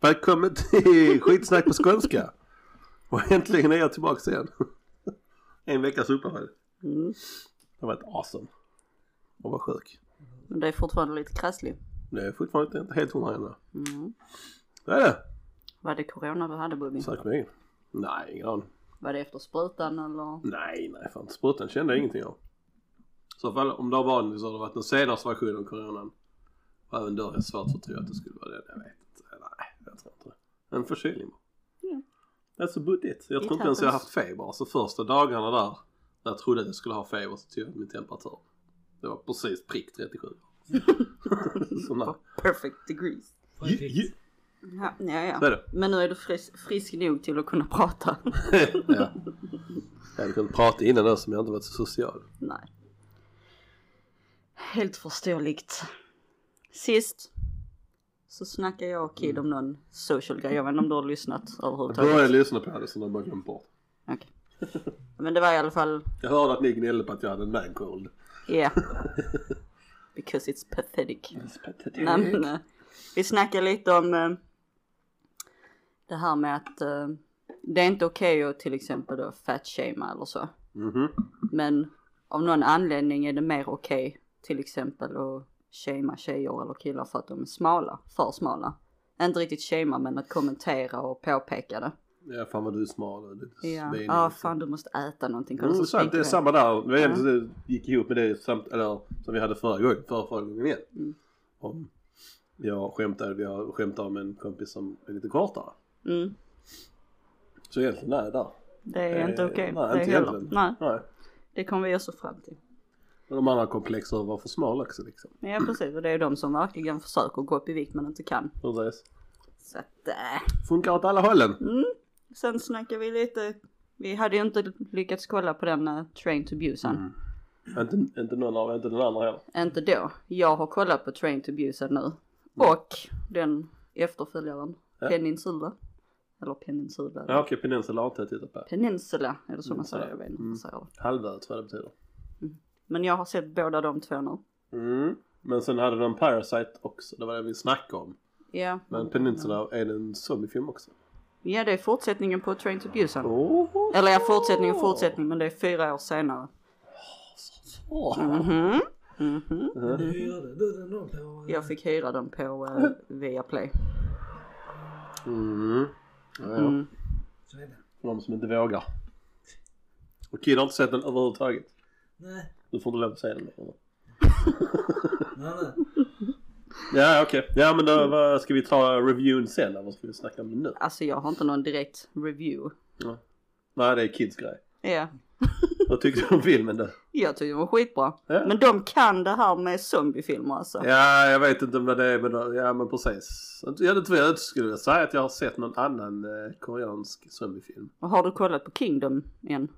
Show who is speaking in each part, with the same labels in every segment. Speaker 1: Välkommen till skitsnack på skånska. Och äntligen är jag tillbaka igen. En veckas uppehåll.
Speaker 2: Mm.
Speaker 1: Det har varit awesome. Och var sjuk.
Speaker 2: Men det är fortfarande lite krasslig.
Speaker 1: Det är fortfarande inte helt hundra ännu.
Speaker 2: Mm.
Speaker 1: Det är det.
Speaker 2: Var det corona du hade Bubbi?
Speaker 1: Säkert med egen. Nej, ingen aning.
Speaker 2: Var det efter sprutan eller?
Speaker 1: Nej, nej fan. Sprutan kände jag ingenting av. I så fall om det har varit så har det varit den senaste versionen av coronan. Och även då är det svårt att tro att det skulle vara det. Jag vet inte. Nej, jag tror inte det. En förkylning bara.
Speaker 2: Ja.
Speaker 1: That's about it. Jag
Speaker 2: It
Speaker 1: tror inte ens jag har
Speaker 2: happens.
Speaker 1: haft feber. Alltså första dagarna där när jag trodde att jag skulle ha feber så tog jag min temperatur. Det var precis prick 37. så nej.
Speaker 2: Perfect degrees.
Speaker 1: Ju- ju-
Speaker 2: Ja, ja,
Speaker 1: Så är
Speaker 2: ja.
Speaker 1: det.
Speaker 2: Men nu är du frisk, frisk nog till att kunna prata.
Speaker 1: ja. Jag hade kunnat prata innan då som jag inte varit så social.
Speaker 2: Nej. Helt förståeligt. Sist så snackade jag och Kid om
Speaker 1: Mm.
Speaker 2: någon social grej. Jag vet inte om du har lyssnat
Speaker 1: Jag började
Speaker 2: överhuvudtaget.
Speaker 1: lyssna på det så nu har jag bara glömt bort.
Speaker 2: Okej. Men det var i alla fall,
Speaker 1: Jag hörde att ni gnällde på att jag hade en mancold.
Speaker 2: ja. Yeah. Because it's pathetic. Nej, men, eh, vi snackade lite om eh, det här med att eh, det är inte okej att till exempel då fatshama eller så.
Speaker 1: Mhm.
Speaker 2: Men av någon anledning är det mer okej till exempel att shama tjejer eller killar för att de är smala, för smala. Inte riktigt shama men att kommentera och påpeka det.
Speaker 1: Ja fan vad du är smal och lite
Speaker 2: Ja,
Speaker 1: svinig.
Speaker 2: ah, fan Alltså, du måste äta någonting. Kolla,
Speaker 1: Mm,
Speaker 2: så
Speaker 1: sant, det är
Speaker 2: stinker
Speaker 1: samma där. Det var egentligen det gick ihop med det samt, eller, som vi hade förra gången, förra, förra gången igen.
Speaker 2: Mm.
Speaker 1: Om jag skämtade, vi har skämtat om en kompis som är lite kortare.
Speaker 2: Mm,
Speaker 1: Så egentligen nej där.
Speaker 2: det är inte
Speaker 1: Eh,
Speaker 2: okej.
Speaker 1: nej,
Speaker 2: det
Speaker 1: inte
Speaker 2: heller.
Speaker 1: egentligen.
Speaker 2: Nej,
Speaker 1: Nej.
Speaker 2: det kommer vi också fram till.
Speaker 1: Men de andra har komplex över att vara för smal också liksom.
Speaker 2: Ja precis och det är de som verkligen försöker gå upp i vikt men inte kan.
Speaker 1: Precis.
Speaker 2: Så att, äh.
Speaker 1: Funkar åt alla hållen.
Speaker 2: Sen snackar vi lite, vi hade ju inte lyckats kolla på den eh, Train to Busan.
Speaker 1: Mm. Inte, inte någon av, inte den andra heller.
Speaker 2: Inte då. Jag har kollat på Train to Busan nu. Och den efterföljaren,
Speaker 1: Mm. Ja.
Speaker 2: Peninsula. Eller Peninsula.
Speaker 1: Ja, okej, Peninsula har inte jag tittat på.
Speaker 2: Peninsula är det så man
Speaker 1: Peninsula. Mm.
Speaker 2: säger, jag vet inte hur man säger det.
Speaker 1: Halvö tror jag det betyder.
Speaker 2: Men jag har sett båda de två nu.
Speaker 1: Mm. Men sen hade de Parasite också, det var det vi snackade om.
Speaker 2: Ja.
Speaker 1: Men
Speaker 3: Mm.
Speaker 1: Peninsula är en zombiefilm också.
Speaker 2: Ja det är fortsättningen på Train to Busan.
Speaker 1: Oh.
Speaker 2: Eller ja fortsättning och fortsättning men det är fyra år senare.
Speaker 1: Mm-hmm.
Speaker 2: Mhm. Mhm.
Speaker 3: Du hyrde du den då på...
Speaker 2: Jag fick hyra den på eh, Viaplay.
Speaker 1: Mm. Ja, ja.
Speaker 2: Mm.
Speaker 3: Så är det.
Speaker 1: För de som inte vågar. Och Kid har inte sett den överhuvudtaget.
Speaker 3: Nej,
Speaker 1: Du får inte lov att säga den längre.
Speaker 3: nej, nej.
Speaker 1: Ja okej. Ja men då vad, ska vi ta reviewen sen eller ska vi snacka om den nu?
Speaker 2: Alltså jag har inte någon direkt review.
Speaker 1: Nej det är Kids grej.
Speaker 2: Ja.
Speaker 1: Vad tyckte du om filmen då?
Speaker 2: Jag tyckte den var skitbra.
Speaker 1: Ja.
Speaker 2: Men de kan det här med zombiefilmer alltså.
Speaker 1: Ja jag vet inte vad det är men ja men precis. Jag hade tyvärr inte skulle jag säga att jag har sett någon annan eh, koreansk zombiefilm.
Speaker 2: Och Har du kollat på Kingdom än?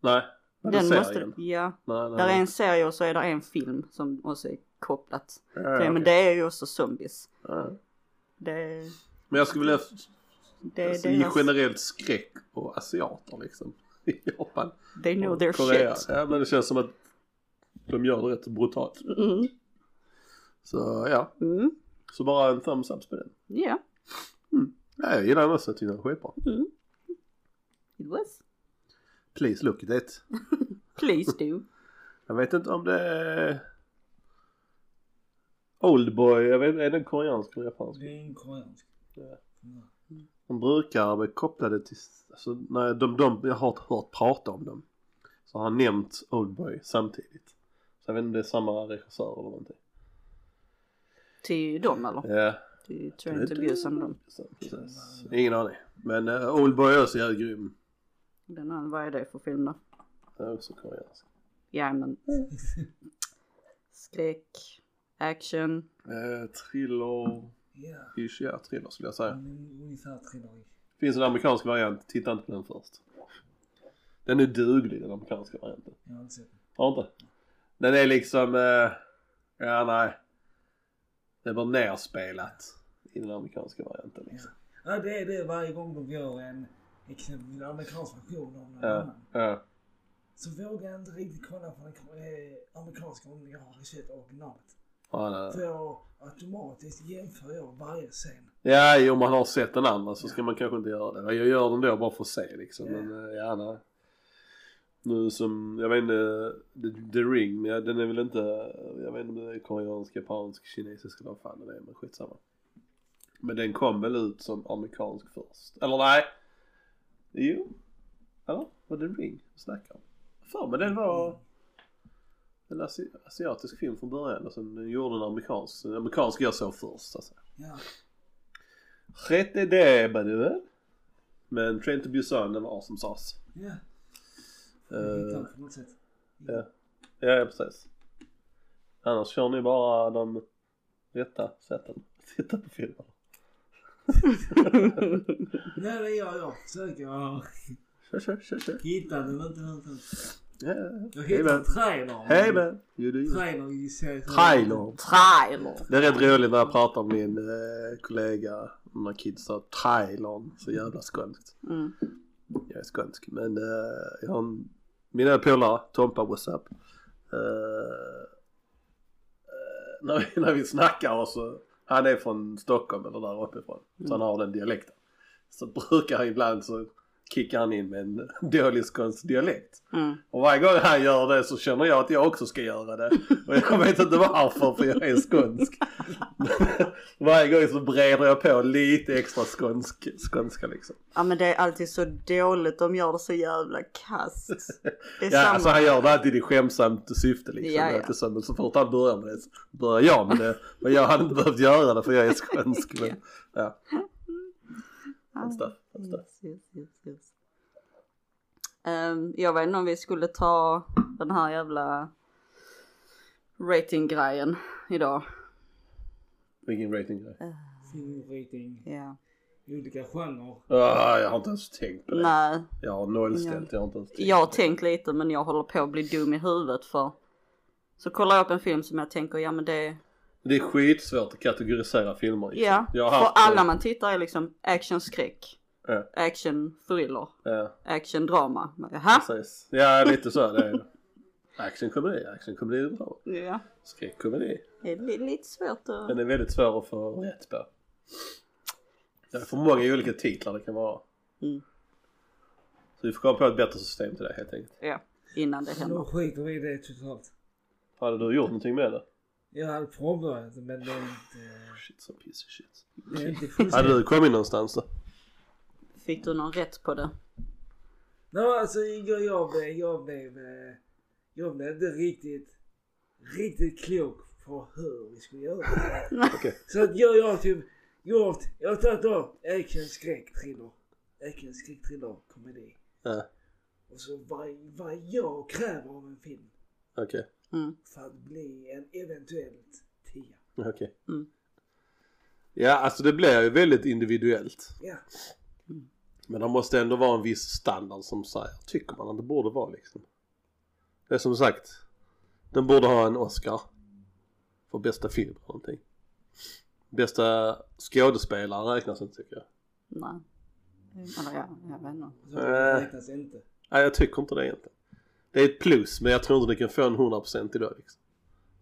Speaker 1: Nej. Men den serien. Måste...
Speaker 2: Ja.
Speaker 1: Nej, nej.
Speaker 2: Där är en serie och så är det en film som också är kopplat.
Speaker 1: Ja,
Speaker 2: till det, Men
Speaker 1: okej.
Speaker 2: det är ju också zombies.
Speaker 1: Ja.
Speaker 2: Det,
Speaker 1: Men jag skulle vilja
Speaker 2: det, är
Speaker 1: alltså, ge
Speaker 2: deras,
Speaker 1: generellt skräck på asiater liksom. I Japan.
Speaker 2: they know their
Speaker 1: Korea.
Speaker 2: shit.
Speaker 1: Ja men det känns som att de gör det rätt brutalt.
Speaker 2: Mm.
Speaker 1: Så ja,
Speaker 2: Mm.
Speaker 1: så bara en thumbs up på den.
Speaker 2: Yeah.
Speaker 1: Nej jag gillar den också, jag tycker den är skitbra.
Speaker 2: Mm. It was.
Speaker 1: Please look at it.
Speaker 2: Please do.
Speaker 1: Jag vet inte om det är Oldboy, jag vet är den koreansk eller japansk?
Speaker 3: Det är en koreansk.
Speaker 1: Ja.
Speaker 3: Ja.
Speaker 1: De brukar vara kopplade till, alltså när de, de, jag har hört prata om dem. Så har han nämnt Oldboy samtidigt. Så jag vet inte om det är samma regissör eller någonting.
Speaker 2: Till dem eller?
Speaker 1: Ja.
Speaker 2: Till Train to Busan dem.
Speaker 1: Precis. Ingen aning. Men eh, Oldboy är också jävligt grym.
Speaker 2: Den här, vad är det för film då?
Speaker 1: Den är också koreansk.
Speaker 2: Ja men. Skräck. Action.
Speaker 1: Eh, thriller.
Speaker 3: Ja,
Speaker 1: Ish, ja, thriller skulle jag säga.
Speaker 3: men ungefär thriller
Speaker 1: Finns en amerikansk variant, titta inte på den först. Den är duglig den amerikanska varianten.
Speaker 3: Jag har inte sett den.
Speaker 1: Har inte? Den är liksom, eh, ja nej. Det blir nerspelat i den amerikanska varianten liksom.
Speaker 3: Ja, det är det varje gång de gör en exempelvis amerikansk version av någon
Speaker 1: Ja,
Speaker 3: annan.
Speaker 1: ja.
Speaker 3: Så vågar jag inte riktigt kolla på den ko- eh, amerikanska om jag har sett originalet.
Speaker 1: Ja, det...
Speaker 3: För automatiskt jämför jag varje scen.
Speaker 1: ja, jo, om man har sett den andra så ska man kanske inte göra det. Jag gör den då bara för att se liksom. Men eh, ja, nej. Nu som, jag vet inte, The, The Ring, men jag- den är väl inte, jag vet inte om det är koreansk, japansk, kinesisk eller vad fan det är, men skitsamma. Men den kom väl ut som amerikansk först? Eller nej? Jo? Eller? Var det The Ring vi snackar om? För men den var en asi- asiatisk film från början och sen gjorde en amerikansk. En amerikansk jag såg först alltså.
Speaker 3: Ja.
Speaker 1: Skit i det badue. Men Train to Busan den var som sas.
Speaker 3: Ja. Jag hittar
Speaker 1: Eh,
Speaker 3: den på något sätt.
Speaker 1: ja. Ja, ja precis. Annars kör ni bara de rätta sätten att titta på filmer.
Speaker 3: Nej, det gör jag. Försöker
Speaker 1: Kör, kör, kör, kör.
Speaker 3: hitta den. Inte, inte.
Speaker 1: Ja, ja, ja.
Speaker 3: Jag
Speaker 1: Hej
Speaker 3: hittar
Speaker 1: man.
Speaker 3: en trailer.
Speaker 1: Hej man. You do you.
Speaker 3: Trailer i serien.
Speaker 1: Trailer.
Speaker 2: Trailer.
Speaker 1: Det är rätt roligt när jag pratar med min eh, kollega, när kids sa trailern, så jävla skånskt.
Speaker 2: Mm.
Speaker 1: Jag är skånsk men eh, jag har en, mina polare, Tompa WhatsApp. Uh, eh, när, vi, när vi snackar och så, han är från Stockholm eller där uppifrån. Så han har den dialekten. Så brukar han ibland så kickar han in med en dålig skånsk dialekt.
Speaker 2: Mm.
Speaker 1: Och varje gång han gör det så känner jag att jag också ska göra det. Och jag vet inte varför för jag är skånsk. Men varje gång så breder jag på lite extra skånsk, skånska liksom.
Speaker 2: Ja men det är alltid så dåligt, de gör det så jävla kast. Det är
Speaker 1: Ja,
Speaker 2: samma.
Speaker 1: alltså han gör det alltid i skämtsamt syfte liksom.
Speaker 2: Ja, ja.
Speaker 1: Inte så, men så fort han börjar med det så börjar jag med det. Men jag hade inte behövt göra det för jag är skånsk. Men, ja. Fast där, fast där.
Speaker 2: Yes, yes, yes, yes. Ehm, jag vet inte om vi skulle ta den här jävla ratinggrejen idag.
Speaker 1: Vilken rating är det?
Speaker 3: Filmrating.
Speaker 2: Ja.
Speaker 3: Olika genrer.
Speaker 1: Ah, jag har inte ens tänkt på det.
Speaker 2: Nej,
Speaker 1: Jag har nollställt. Jag har inte ens tänkt.
Speaker 2: jag har tänkt lite men jag håller på att bli dum i huvudet för så kollar jag upp en film som jag tänker, ja men det,
Speaker 1: Det är skitsvårt att kategorisera filmer. liksom.
Speaker 2: ja.
Speaker 1: Jag har
Speaker 2: För
Speaker 1: haft-
Speaker 2: alla man tittar är liksom actionskräck,
Speaker 1: Ja.
Speaker 2: action thriller,
Speaker 1: Ja,
Speaker 2: action drama. Jaha,
Speaker 1: precis. Ja, lite så. Det är actionkomedi, actionkomedi är bra.
Speaker 2: ja.
Speaker 1: Skräckkomedi.
Speaker 2: Det är li- lite svårt att...
Speaker 1: Den är väldigt svår att få rätt på. Det är för många olika titlar det kan vara.
Speaker 2: Mm.
Speaker 1: Så vi får komma på ett bättre system till det helt enkelt.
Speaker 2: Ja, innan det
Speaker 3: Då
Speaker 2: händer.
Speaker 3: skiter vi i det totalt.
Speaker 1: Hade du gjort någonting med det?
Speaker 3: Jag hade påbörjat det, men det är inte...
Speaker 1: Shit så piece of shit.
Speaker 3: Det är inte
Speaker 1: Hade
Speaker 3: fullständigt.
Speaker 1: du kommit någonstans då?
Speaker 2: Fick du någon rätt på det?
Speaker 3: Nej, alltså jag, jag blev... Jag blev... eh, Jag blev inte riktigt... Riktigt klok på hur vi skulle göra det.
Speaker 1: Okej.
Speaker 3: Så att jag, jag har typ gjort... Jag har tagit då action, skräck, thriller. Action, skräck, thriller, komedi.
Speaker 1: Ja,
Speaker 3: Och så vad, vad jag kräver av en film
Speaker 1: okej.
Speaker 2: Mm.
Speaker 3: för att bli en eventuellt tia.
Speaker 1: Okej.
Speaker 2: Mm.
Speaker 1: Ja, alltså det blir ju väldigt individuellt.
Speaker 3: Ja,
Speaker 1: Men det måste ändå vara en viss standard som så här, tycker man att det borde vara liksom. Det är som sagt, den borde ha en Oscar. För bästa film eller någonting. Bästa skådespelare räknas inte tycker jag.
Speaker 2: Nej. Eller ja, jag vet inte.
Speaker 3: så
Speaker 1: Äh.
Speaker 3: det räknas inte.
Speaker 1: Nej jag tycker inte det egentligen. Det är ett plus men jag tror inte det kan få en 100% idag liksom.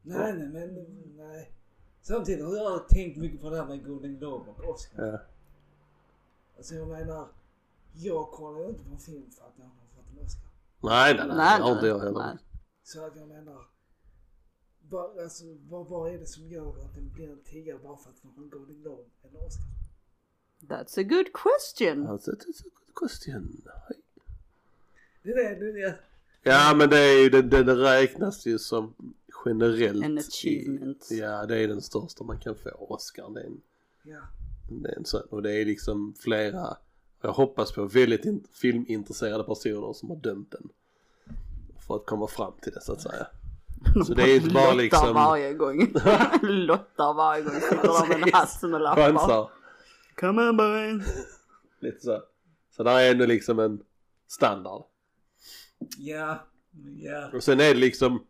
Speaker 3: Nej, nej, men nej. Samtidigt har jag tänkt mycket på det här med Golden Globe och Oscar.
Speaker 1: Ja.
Speaker 3: Alltså jag menar, jag kollar ju inte på en film för att den har fått en Oscar.
Speaker 1: Nej nej nej,
Speaker 2: Nej,
Speaker 1: det har inte
Speaker 2: nej,
Speaker 1: jag heller.
Speaker 2: nej.
Speaker 3: Så att jag menar, vad, alltså, vad, vad är det som gör att den blir en tia bara för att den har en Golden Globe eller Oscar?
Speaker 2: That's a good question.
Speaker 1: Alltså, det är så good question.
Speaker 3: Det är det, det, är det.
Speaker 1: Ja men det, är ju, det, det, det räknas ju som generellt.
Speaker 2: An achievement.
Speaker 1: I, ja det är den största man kan få, Oscar. Det är en,
Speaker 3: Ja.
Speaker 1: Det är en sån, och det är liksom flera, jag hoppas på väldigt in, filmintresserade personer som har dömt den. För att komma fram till det så att säga. Så det är inte bara liksom-
Speaker 2: Lottar varje gång. Lottar varje gång. Sitter där med en hatt med lappar.
Speaker 1: Chansar,
Speaker 2: Come on boys.
Speaker 1: lite så. Så där är ändå liksom en standard.
Speaker 3: Ja. Ja.
Speaker 1: Och sen är det liksom,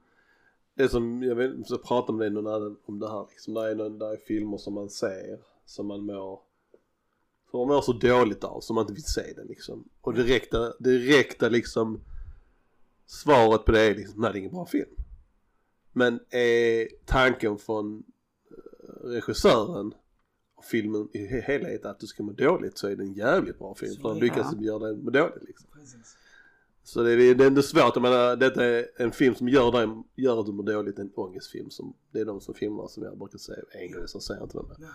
Speaker 1: det som, jag vet inte, så pratade om det någon annan om det här liksom. Där är, någon, där är filmer som man ser, som man mår, som man mår så dåligt av, som man inte vill se den liksom. Och direkta, direkta liksom svaret på det är liksom, nej det är ingen bra film. Men är tanken från eh, regissören och filmen i he- helhet att du ska må dåligt så är det en jävligt bra film. För de lyckas
Speaker 2: Ja.
Speaker 1: göra dig må dåligt liksom.
Speaker 3: Precis.
Speaker 1: Så det är, det är ändå svårt, jag menar detta är en film som gör, dig, gör att du mår dåligt, en ångestfilm. Som, det är de som filmar som jag brukar säga en gång, så säger jag inte vem det är.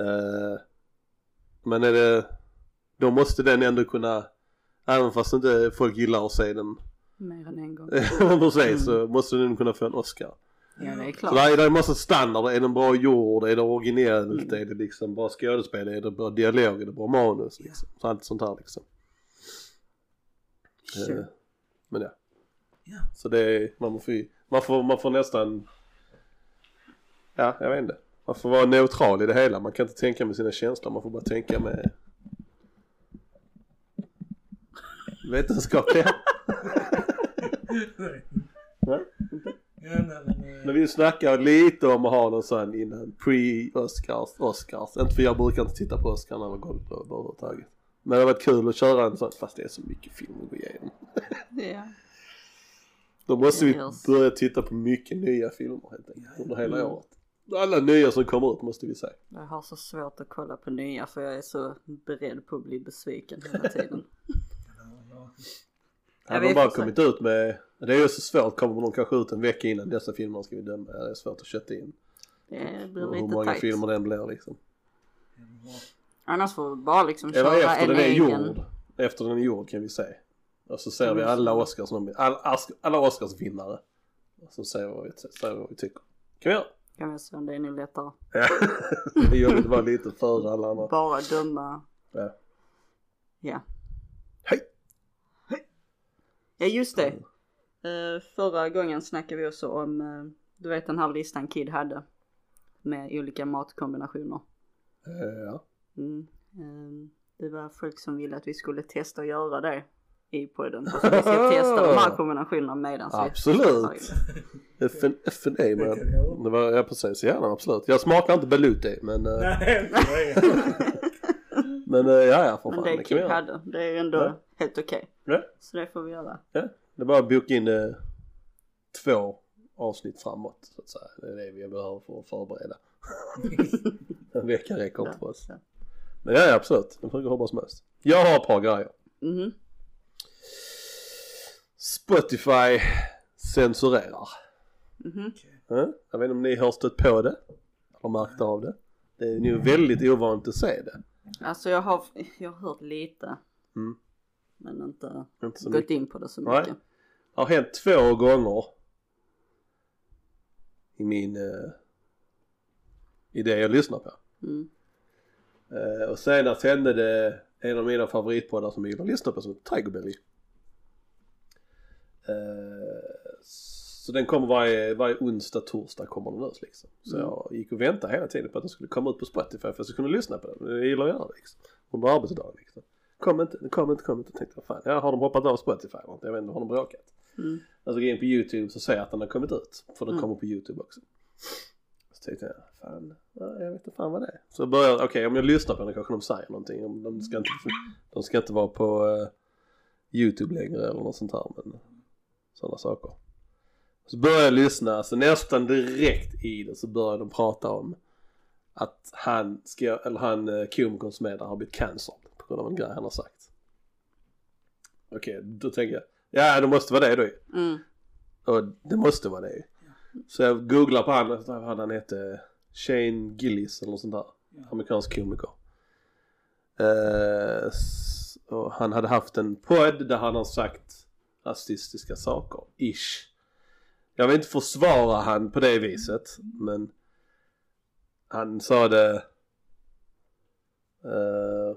Speaker 3: Nej.
Speaker 1: Eh, men är det, då måste den ändå kunna, även fast inte folk gillar att se den
Speaker 2: Mer än en gång.
Speaker 1: precis, så måste den kunna få en Oscar.
Speaker 2: Ja det är
Speaker 1: Så
Speaker 2: klart.
Speaker 1: där är det en massa standarder, är den bra gjord, är det originellt, är det liksom bra skådespel, är det bra dialog, är det bra manus liksom. Så allt sånt här liksom. Eh,
Speaker 2: Sure.
Speaker 1: Men ja.
Speaker 3: Ja.
Speaker 1: Så det är, man får, ju- man får, man får nästan, ja jag vet inte. Man får vara neutral i det hela, man kan inte tänka med sina känslor, man får bara tänka med vetenskapliga.
Speaker 3: Nej.
Speaker 1: Nej.
Speaker 3: Ja, nej, men,
Speaker 1: Men
Speaker 3: eh,
Speaker 1: vi snackade lite om att ha någon sån innan, pre-Oscars, Oscars. Inte för jag brukar inte titta på Oscar när man går på överhuvudtaget. Men det har varit kul att köra en sån, fast det är så mycket film att gå igenom.
Speaker 2: Ja.
Speaker 1: Då måste vi
Speaker 2: Yes.
Speaker 1: börja titta på mycket nya filmer helt enkelt under hela året. Alla nya som kommer ut måste vi se.
Speaker 2: Jag har så svårt att kolla på nya för jag är så beredd på att bli besviken hela tiden. Ja,
Speaker 1: Hade
Speaker 2: vi
Speaker 1: de bara
Speaker 2: får se.
Speaker 1: kommit ut med, det är ju så svårt, kommer de kanske ut en vecka innan dessa filmer ska vi döma. Det är svårt att kötta in
Speaker 2: Det blir
Speaker 1: hur
Speaker 2: lite
Speaker 1: många
Speaker 2: tajt.
Speaker 1: filmer den blir liksom.
Speaker 2: Annars får vi bara liksom
Speaker 1: Eller
Speaker 2: köra
Speaker 1: efter
Speaker 2: en
Speaker 1: den är
Speaker 2: egen.
Speaker 1: gjord. Efter den är gjord kan vi se. Och så ser
Speaker 2: Mm.
Speaker 1: vi alla Oscars, nom- alla, As- alla Oscars vinnare. Och så ser vi vad vi, ser vi, vad vi tycker. Kan vi göra?
Speaker 2: Kan vi se om det är nog lättare.
Speaker 1: Ja. det är jobbigt att vara lite före alla andra.
Speaker 2: Bara döma.
Speaker 1: Ja.
Speaker 2: Ja.
Speaker 1: Hej!
Speaker 2: Ja just det. Eh, förra gången snackade vi också om, eh, du vet den här listan Kid hade. Med olika matkombinationer.
Speaker 1: Eh, Ja.
Speaker 2: Mm. Eh, det var folk som ville att vi skulle testa att göra det i podden. Så vi ska testa de här kombinationerna medan vi
Speaker 1: Absolut. FN, FNA men. Det var, ja precis, gärna absolut. Jag smakar inte Beluti men, eh,
Speaker 3: Nej, nej.
Speaker 1: men eh, ja ja för
Speaker 2: Men
Speaker 1: fan.
Speaker 2: det
Speaker 1: Det kan vi
Speaker 2: Kid
Speaker 1: göra.
Speaker 2: hade, det är ju ändå
Speaker 1: Ja.
Speaker 2: helt okej.
Speaker 1: Ja.
Speaker 2: Så det får vi göra.
Speaker 1: Ja. Det är bara att boka in eh, två avsnitt framåt så att säga. Det är det vi behöver för att förbereda. en vecka räcker inte för oss.
Speaker 2: Ja.
Speaker 1: Men ja, ja absolut, den funkar hur bra som helst. Jag har ett par grejer.
Speaker 2: Mhm.
Speaker 1: Spotify censurerar.
Speaker 2: Mhm.
Speaker 1: Ja, Jag vet inte om ni har stött på det eller märkt av det. Det är ju väldigt ovanligt att se det.
Speaker 2: Alltså jag har, jag har hört lite.
Speaker 1: Mm.
Speaker 2: Men inte
Speaker 1: Inte så
Speaker 2: gått
Speaker 1: mycket.
Speaker 2: in på det så
Speaker 1: Nej.
Speaker 2: mycket.
Speaker 1: Det har hänt två gånger i min eh, i det jag lyssnar på.
Speaker 2: Mm.
Speaker 1: Eh, och senast hände det en av mina favoritpoddar som jag gillar att lyssna på som heter Tigerbelly. Eh, så den kommer varje, varje onsdag, torsdag kommer den ut liksom. Så
Speaker 2: Mm.
Speaker 1: jag gick och väntade hela tiden på att den skulle komma ut på Spotify för att jag skulle kunna lyssna på den. Jag gillar att göra det liksom. Under arbetsdagen liksom. Kom inte, den kom inte, kom inte. Jag tänkte vad fan, ja, har de hoppat av Spotify? eller något? Jag vet inte, har de bråkat?
Speaker 2: Mm.
Speaker 1: Alltså gå in på YouTube så ser jag att den har kommit ut. För den
Speaker 2: Mm.
Speaker 1: kommer på YouTube också. Så tänkte jag, fan, ja, jag vet inte fan vad det är. Så börjar okej om jag lyssnar på den kanske de säger någonting. Om De ska inte, de ska inte vara på eh, YouTube längre eller något sånt här. Men sådana saker. Så börjar jag lyssna, så nästan direkt i det så börjar de prata om att han, ska, eller han eh, komikern som är där har blivit cancelled på grund av en grej han har sagt. Okej, då tänker jag, ja det måste vara det då ju.
Speaker 2: Mm.
Speaker 1: Och det måste vara det ju. Så jag googlar på han, vad hade han hette? Shane Gillis eller något sånt där. Amerikansk komiker. Eh, s- och han hade haft en podd där han har sagt rasistiska saker, ish. Jag vill inte försvara han på det viset, men han sa det eh,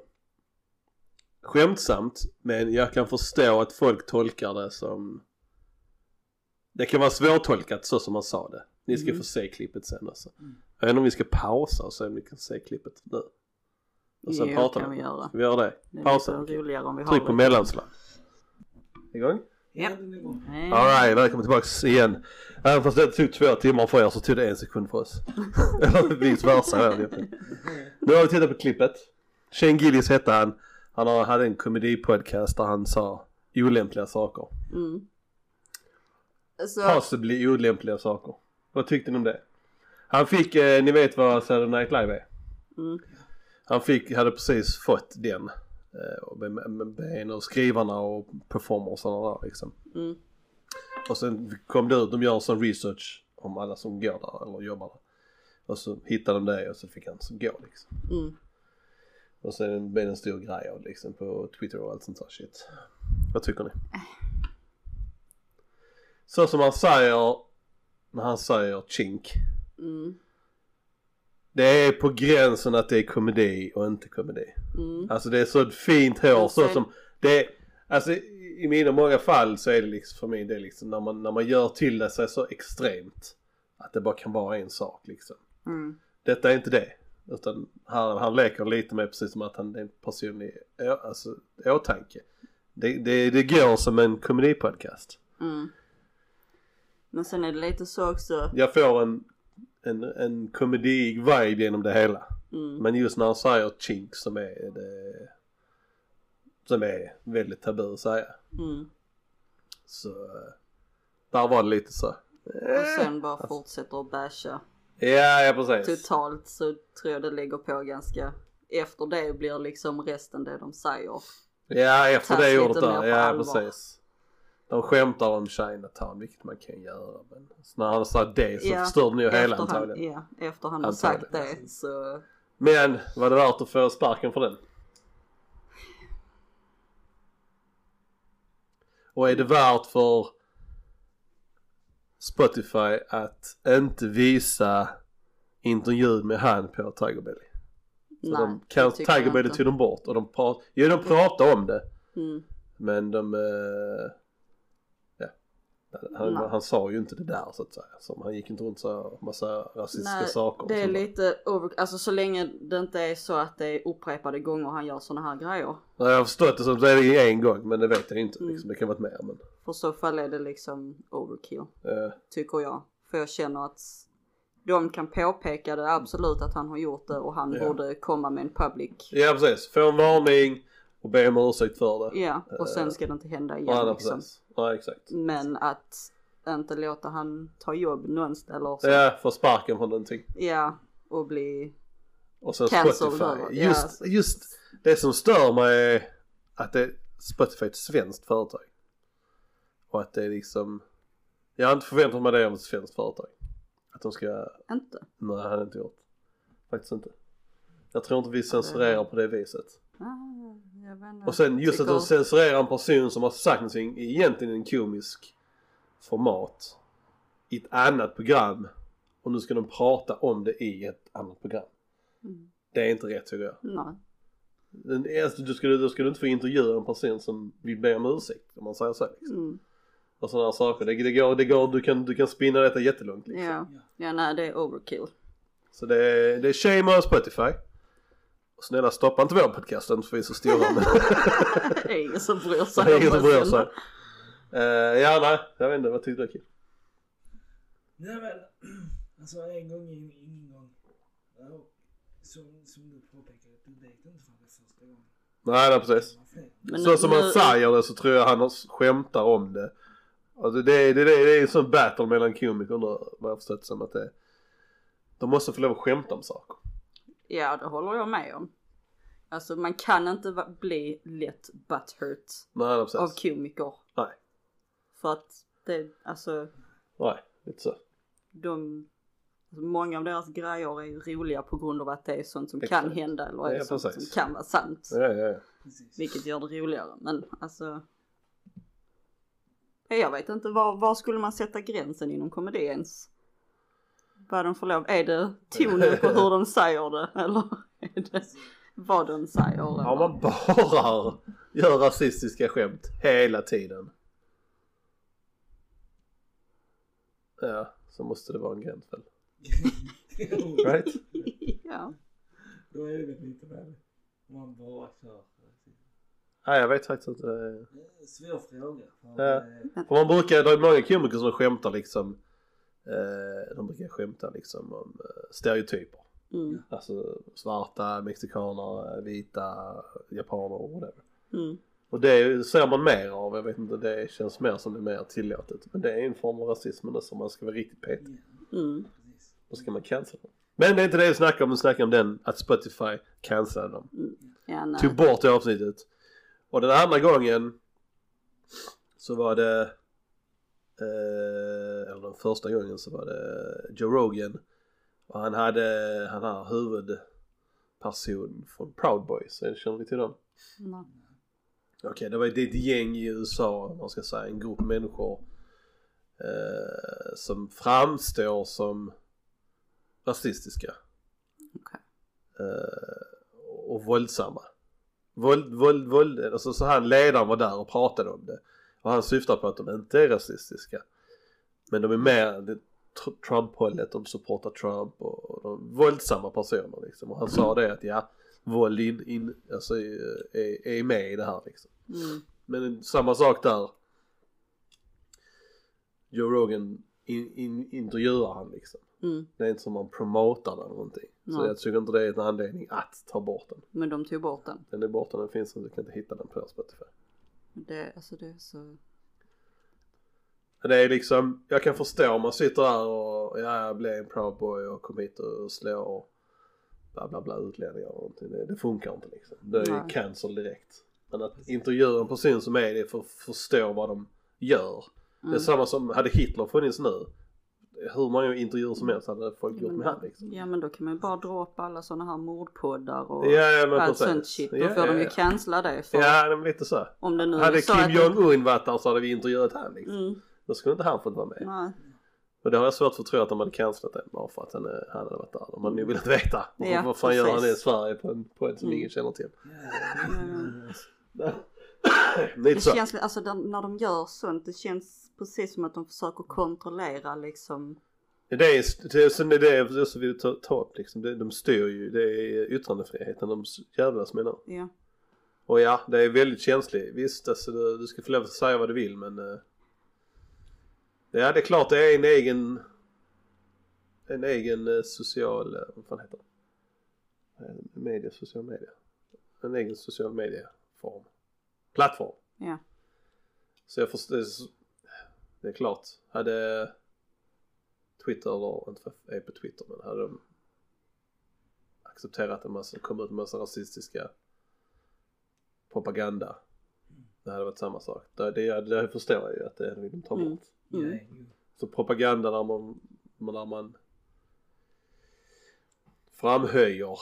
Speaker 1: skämtsamt, men jag kan förstå att folk tolkar det som det kan vara svårtolkat så som han sa det. Ni ska
Speaker 2: Mhm.
Speaker 1: få se klippet sen alltså.
Speaker 3: Mm.
Speaker 1: Jag vet inte om vi ska pausa och se om ni kan se klippet nu. Och sen
Speaker 2: Jo,
Speaker 1: pratar
Speaker 2: kan
Speaker 1: vi.
Speaker 2: vi göra.
Speaker 1: Ska vi göra det?
Speaker 2: Det är
Speaker 1: Pausa.
Speaker 2: lite roligare om vi har
Speaker 1: Tryck på
Speaker 2: det.
Speaker 1: mellanslag. Igång?
Speaker 3: Ja, den är bra.
Speaker 2: Nej.
Speaker 1: Alright, välkommen tillbaks igen. Även fast det tog två timmar för er så tog det en sekund för oss. Eller vice versa. jag vet inte. Nu har vi tittat på klippet. Shane Gillis hette han. Han har- hade en komedipodcast där han sa olämpliga saker.
Speaker 2: Mm. Så, Alltså-
Speaker 1: Possibly olämpliga saker. Vad tyckte ni om det? Han fick, eh, ni vet vad Saturday Night Live är?
Speaker 2: Mm.
Speaker 1: Han fick, hade precis fått den. eh, och Med, med, med en av skrivarna och performersarna där liksom.
Speaker 2: Mm.
Speaker 1: Och sen kom det ut, de gör sån research om alla som går där eller jobbar där. Och så hittade de det och så fick han gå liksom.
Speaker 2: Mm.
Speaker 1: Och sen blev det en stor grej av det, liksom på Twitter och allt sånt där shit. Vad tycker ni? Så som han säger när han säger chink.
Speaker 2: Mm.
Speaker 1: Det är på gränsen att det är komedi och inte komedi.
Speaker 2: Mm.
Speaker 1: Alltså det är så ett fint hår
Speaker 2: Och
Speaker 1: så
Speaker 2: sen-
Speaker 1: som det är, Alltså i i mina många fall så är det liksom för mig det är liksom när man, när man gör till det sig så extremt. Att det bara kan vara en sak liksom.
Speaker 2: Mm.
Speaker 1: Detta är inte det. Utan han, han leker lite med precis som att han är en personlig ö, alltså, åtanke. Det, det, det går som en komedipodcast.
Speaker 2: Mm. Men sen är det lite så också.
Speaker 1: Jag får en, en, en komedik vibe genom det hela.
Speaker 2: Mm.
Speaker 1: Men just när han säger chink som är det, som är väldigt tabu att säga.
Speaker 2: Mm.
Speaker 1: Så eh, där var det lite så.
Speaker 2: Och
Speaker 1: Eh.
Speaker 2: sen Typ bara fortsätter att basha.
Speaker 1: Ja, ja precis.
Speaker 2: Totalt så tror jag det ligger på ganska. Efter det blir liksom resten det de säger.
Speaker 1: Ja, efter
Speaker 2: Tas
Speaker 1: det
Speaker 2: lite
Speaker 1: ordet
Speaker 2: mer på
Speaker 1: där. Ja,
Speaker 2: allvar.
Speaker 1: precis. De skämtar om Chinatown, vilket man kan göra. Men så när han sa det så
Speaker 2: Ja,
Speaker 1: förstörde ni ju hela
Speaker 2: efter han,
Speaker 1: antagligen.
Speaker 2: ja, efter han har
Speaker 1: Antagligen.
Speaker 2: sagt det så.
Speaker 1: Men var det värt att få sparken för den? Och är det värt för Spotify att inte visa intervjun med han på Tiger Belly? Så
Speaker 2: nej.
Speaker 1: de,
Speaker 2: det
Speaker 1: kan,
Speaker 2: tycker jag
Speaker 1: Tiger Belly
Speaker 2: inte.
Speaker 1: tog de bort och de pratade, jo de pratade om det
Speaker 2: Mm.
Speaker 1: men de, eh, ja. Han,
Speaker 2: Nej.
Speaker 1: han sa ju inte det där så att säga. Så han gick inte runt och sa massa rasistiska
Speaker 2: Nej,
Speaker 1: saker. och
Speaker 2: Det är
Speaker 1: sånt där.
Speaker 2: lite over... Alltså så länge det inte är så att det är upprepade gånger han gör såna här grejer.
Speaker 1: Nej, jag har förstått det som det är en gång men det vet jag inte.
Speaker 2: Mm.
Speaker 1: Liksom, det kan varit mer men.
Speaker 2: För så fall är det liksom overkill.
Speaker 1: eh,
Speaker 2: Tycker jag. För jag känner att de kan påpeka det absolut att han har gjort det och han
Speaker 1: Ja.
Speaker 2: borde komma med en public.
Speaker 1: ja precis, få en varning och be om ursäkt för det.
Speaker 2: Ja, och sen
Speaker 1: Eh,
Speaker 2: ska det inte hända
Speaker 1: Ja,
Speaker 2: igen
Speaker 1: nej,
Speaker 2: liksom.
Speaker 1: precis. Ja exakt.
Speaker 2: Men att inte låta han ta jobb någonstans eller så.
Speaker 1: Ja, få sparken från någonting.
Speaker 2: ja och bli...
Speaker 1: Och sen
Speaker 2: Cancel då,
Speaker 1: Spotify.
Speaker 2: ja.
Speaker 1: Just, just det som stör mig är att det, Spotify är ett svenskt företag. Och att det är liksom, jag har inte förväntat mig det av ett svenskt företag. Att de ska,
Speaker 2: Inte.
Speaker 1: nej det hade jag inte gjort. Faktiskt inte. Jag tror inte vi censurerar på det viset.
Speaker 2: Ah, jag vet inte.
Speaker 1: Och sen just att de
Speaker 2: Tycker-
Speaker 1: censurerar en person som har sagt någonting i egentligen en komisk format i ett annat program och nu ska de prata om det i ett annat program.
Speaker 2: Mm.
Speaker 1: Det är inte rätt tycker jag.
Speaker 2: Nej.
Speaker 1: Den är- Du skulle, alltså, du skulle inte få intervjua en person som vill be om ursäkt om man säger så. liksom.
Speaker 2: Mm.
Speaker 1: Och sådana här saker. Det, det går, det går, du, kan, du kan spinna detta jättelångt. Liksom.
Speaker 2: Ja. ja, nej det är overkill.
Speaker 1: Så det är, det är shame on Spotify. Och snälla stoppa inte vår podcast, den får vi så stora. Men...
Speaker 2: det är ingen som bryr
Speaker 1: Så
Speaker 2: sig.
Speaker 1: det är ingen som
Speaker 2: om
Speaker 1: bryr
Speaker 2: oss
Speaker 1: sig.
Speaker 2: ändå.
Speaker 1: Eh, ja, nej, jag vet inte, vad tyckte du Kim?
Speaker 3: Nej men, alltså en gång är en- ingen gång. Ja, Som, som du påpekade, du vet inte från det första gången.
Speaker 1: Nej, nej precis.
Speaker 3: Man får-
Speaker 2: Men
Speaker 1: så som
Speaker 2: nu-
Speaker 1: han säger det så tror jag han har- skämtar om det. Alltså det, är- det, är- det är en sån battle mellan komiker nu, vad jag har förstått som att det De måste få lov att skämta om saker.
Speaker 2: Ja det håller jag med om. Alltså man kan inte va- bli lätt butthurt
Speaker 1: Nej, nej precis.
Speaker 2: av komiker.
Speaker 1: Nej.
Speaker 2: För att det, alltså
Speaker 1: Nej, lite så.
Speaker 2: de, alltså, många av deras grejer är ju roliga på grund av att det är sånt som kan
Speaker 1: Exakt.
Speaker 2: hända eller är
Speaker 1: Ja,
Speaker 2: sånt som
Speaker 1: precis.
Speaker 2: kan vara sant.
Speaker 1: Ja, ja, ja.
Speaker 3: Precis.
Speaker 2: Vilket gör det roligare men alltså. Ja, Jag vet inte var, var skulle man sätta gränsen inom komedi ens? Vad de får lov, är det tonen på hur de säger det eller är det vad de säger?
Speaker 1: Om
Speaker 2: Eller?
Speaker 1: man bara gör rasistiska skämt hela tiden. Ja, så måste det vara en gräns väl? Right?
Speaker 2: Ja.
Speaker 3: Då är det lite värre. Om man bara kör.
Speaker 1: Nej, jag vet faktiskt inte.
Speaker 3: Det är en svår fråga. För,
Speaker 1: Ja.
Speaker 3: eh,
Speaker 1: För man brukar, det är många komiker som skämtar liksom. Eh, de brukar skämta liksom om eh, stereotyper.
Speaker 2: Mm,
Speaker 1: Alltså svarta, mexikaner, vita, japaner och whatever.
Speaker 2: mm,
Speaker 1: Och det är- ser man mer av, jag vet inte, det känns mer som det är mer tillåtet. Men det är en form av rasism men det som man ska vara riktigt petig.
Speaker 3: ja.
Speaker 2: Mm.
Speaker 3: Precis.
Speaker 1: Då ska man cancella dem. Men det är inte det vi snackar om, vi snackar om den att Spotify cancellade dem.
Speaker 2: Ja, nej.
Speaker 1: Tog bort det avsnittet. Och den andra gången så var det, eh, eller den första gången så var det Joe Rogan. Och han hade, han har huvudperson från Proud Boys, känner ni till dem?
Speaker 2: Nej.
Speaker 1: Okej, det var det är ett gäng i USA, om man ska säga, en grupp människor eh, som framstår som rasistiska.
Speaker 2: Okej.
Speaker 1: Eh, och våldsamma. Våld, våld, våld, alltså så han ledaren var där och pratade om det. Och han syftar på att de inte är rasistiska. Men de är mer det- tr- Trump-hållet, de supportar Trump och, och de våldsamma personer liksom. Och han sa det att ja, våld in, in, alltså, eh, är, är med i det här liksom.
Speaker 2: Mm.
Speaker 1: Men samma sak där. Joe Rogan in, in, intervjuar han liksom.
Speaker 2: Mm.
Speaker 1: Det är inte som man promotar den eller någonting. Så
Speaker 2: Nej.
Speaker 1: jag tycker inte det är en anledning att ta bort den.
Speaker 2: Men de tog bort den.
Speaker 1: Den är borta, den finns inte, du kan inte hitta den på Spotify.
Speaker 2: Det, alltså det är så...
Speaker 1: Det är liksom, jag kan förstå om man sitter där och ja, jag blev en proud boy och kom hit och slår och bla bla bla utlänningar och någonting. Det, det funkar inte liksom. Det är ju
Speaker 2: Nej.
Speaker 1: cancel direkt. Men att intervjua en person som är det för att förstå vad de gör. Det är
Speaker 2: Mm.
Speaker 1: samma som, hade Hitler funnits nu, hur många intervjuer som helst hade folk gjort med han liksom.
Speaker 2: Ja men då kan man ju bara dra upp alla sådana här mordpoddar och
Speaker 1: Ja, ja men
Speaker 2: allt
Speaker 1: precis.
Speaker 2: sånt shit. Då
Speaker 1: Ja,
Speaker 2: får
Speaker 1: ja,
Speaker 2: de ju
Speaker 1: ja.
Speaker 2: cancella det. För
Speaker 1: Ja, men lite så.
Speaker 2: om det nu
Speaker 1: Hade
Speaker 2: är så
Speaker 1: Kim
Speaker 2: att-
Speaker 1: Jong-Un varit där så hade vi intervjuat han liksom.
Speaker 2: Mm,
Speaker 1: Då skulle inte han fått vara med.
Speaker 2: nej.
Speaker 1: Och det har jag svårt för att tro att de hade cancelat den bara för att han, eh, han hade varit där. De hade nog velat veta.
Speaker 2: Ja,
Speaker 1: Vad fan gör han i
Speaker 2: precis.
Speaker 1: Sverige på en podd som
Speaker 2: Mm.
Speaker 1: ingen känner till?
Speaker 3: Ja, ja,
Speaker 1: Lite
Speaker 2: Det
Speaker 1: så.
Speaker 2: känns, alltså de, när de gör sånt, det känns precis som att de försöker kontrollera liksom.
Speaker 1: Det är det, är- sen är det, det som vi tar ta upp liksom. Det, de styr ju, det är yttrandefriheten de jävlas med nu.
Speaker 2: Ja.
Speaker 1: Och ja, det är väldigt känsligt. Visst, alltså, du, du ska få lov att säga vad du vill men... eh, ja, det är klart det är en egen... En egen eh, social... eh, Vad fan heter det? Eh, Media, social media. En egen social medieform. Plattform.
Speaker 2: Ja.
Speaker 1: Så jag förstår... Det är klart. Hade Twitter, eller inte för jag är på Twitter, men hade de accepterat en massa, kom ut en massa rasistiska propaganda. Det hade varit samma sak. Det, det, det förstår jag ju att det vill de ta bort.
Speaker 2: Mm. Mm.
Speaker 3: nej, jo.
Speaker 1: Så propaganda när man, när man framhöjer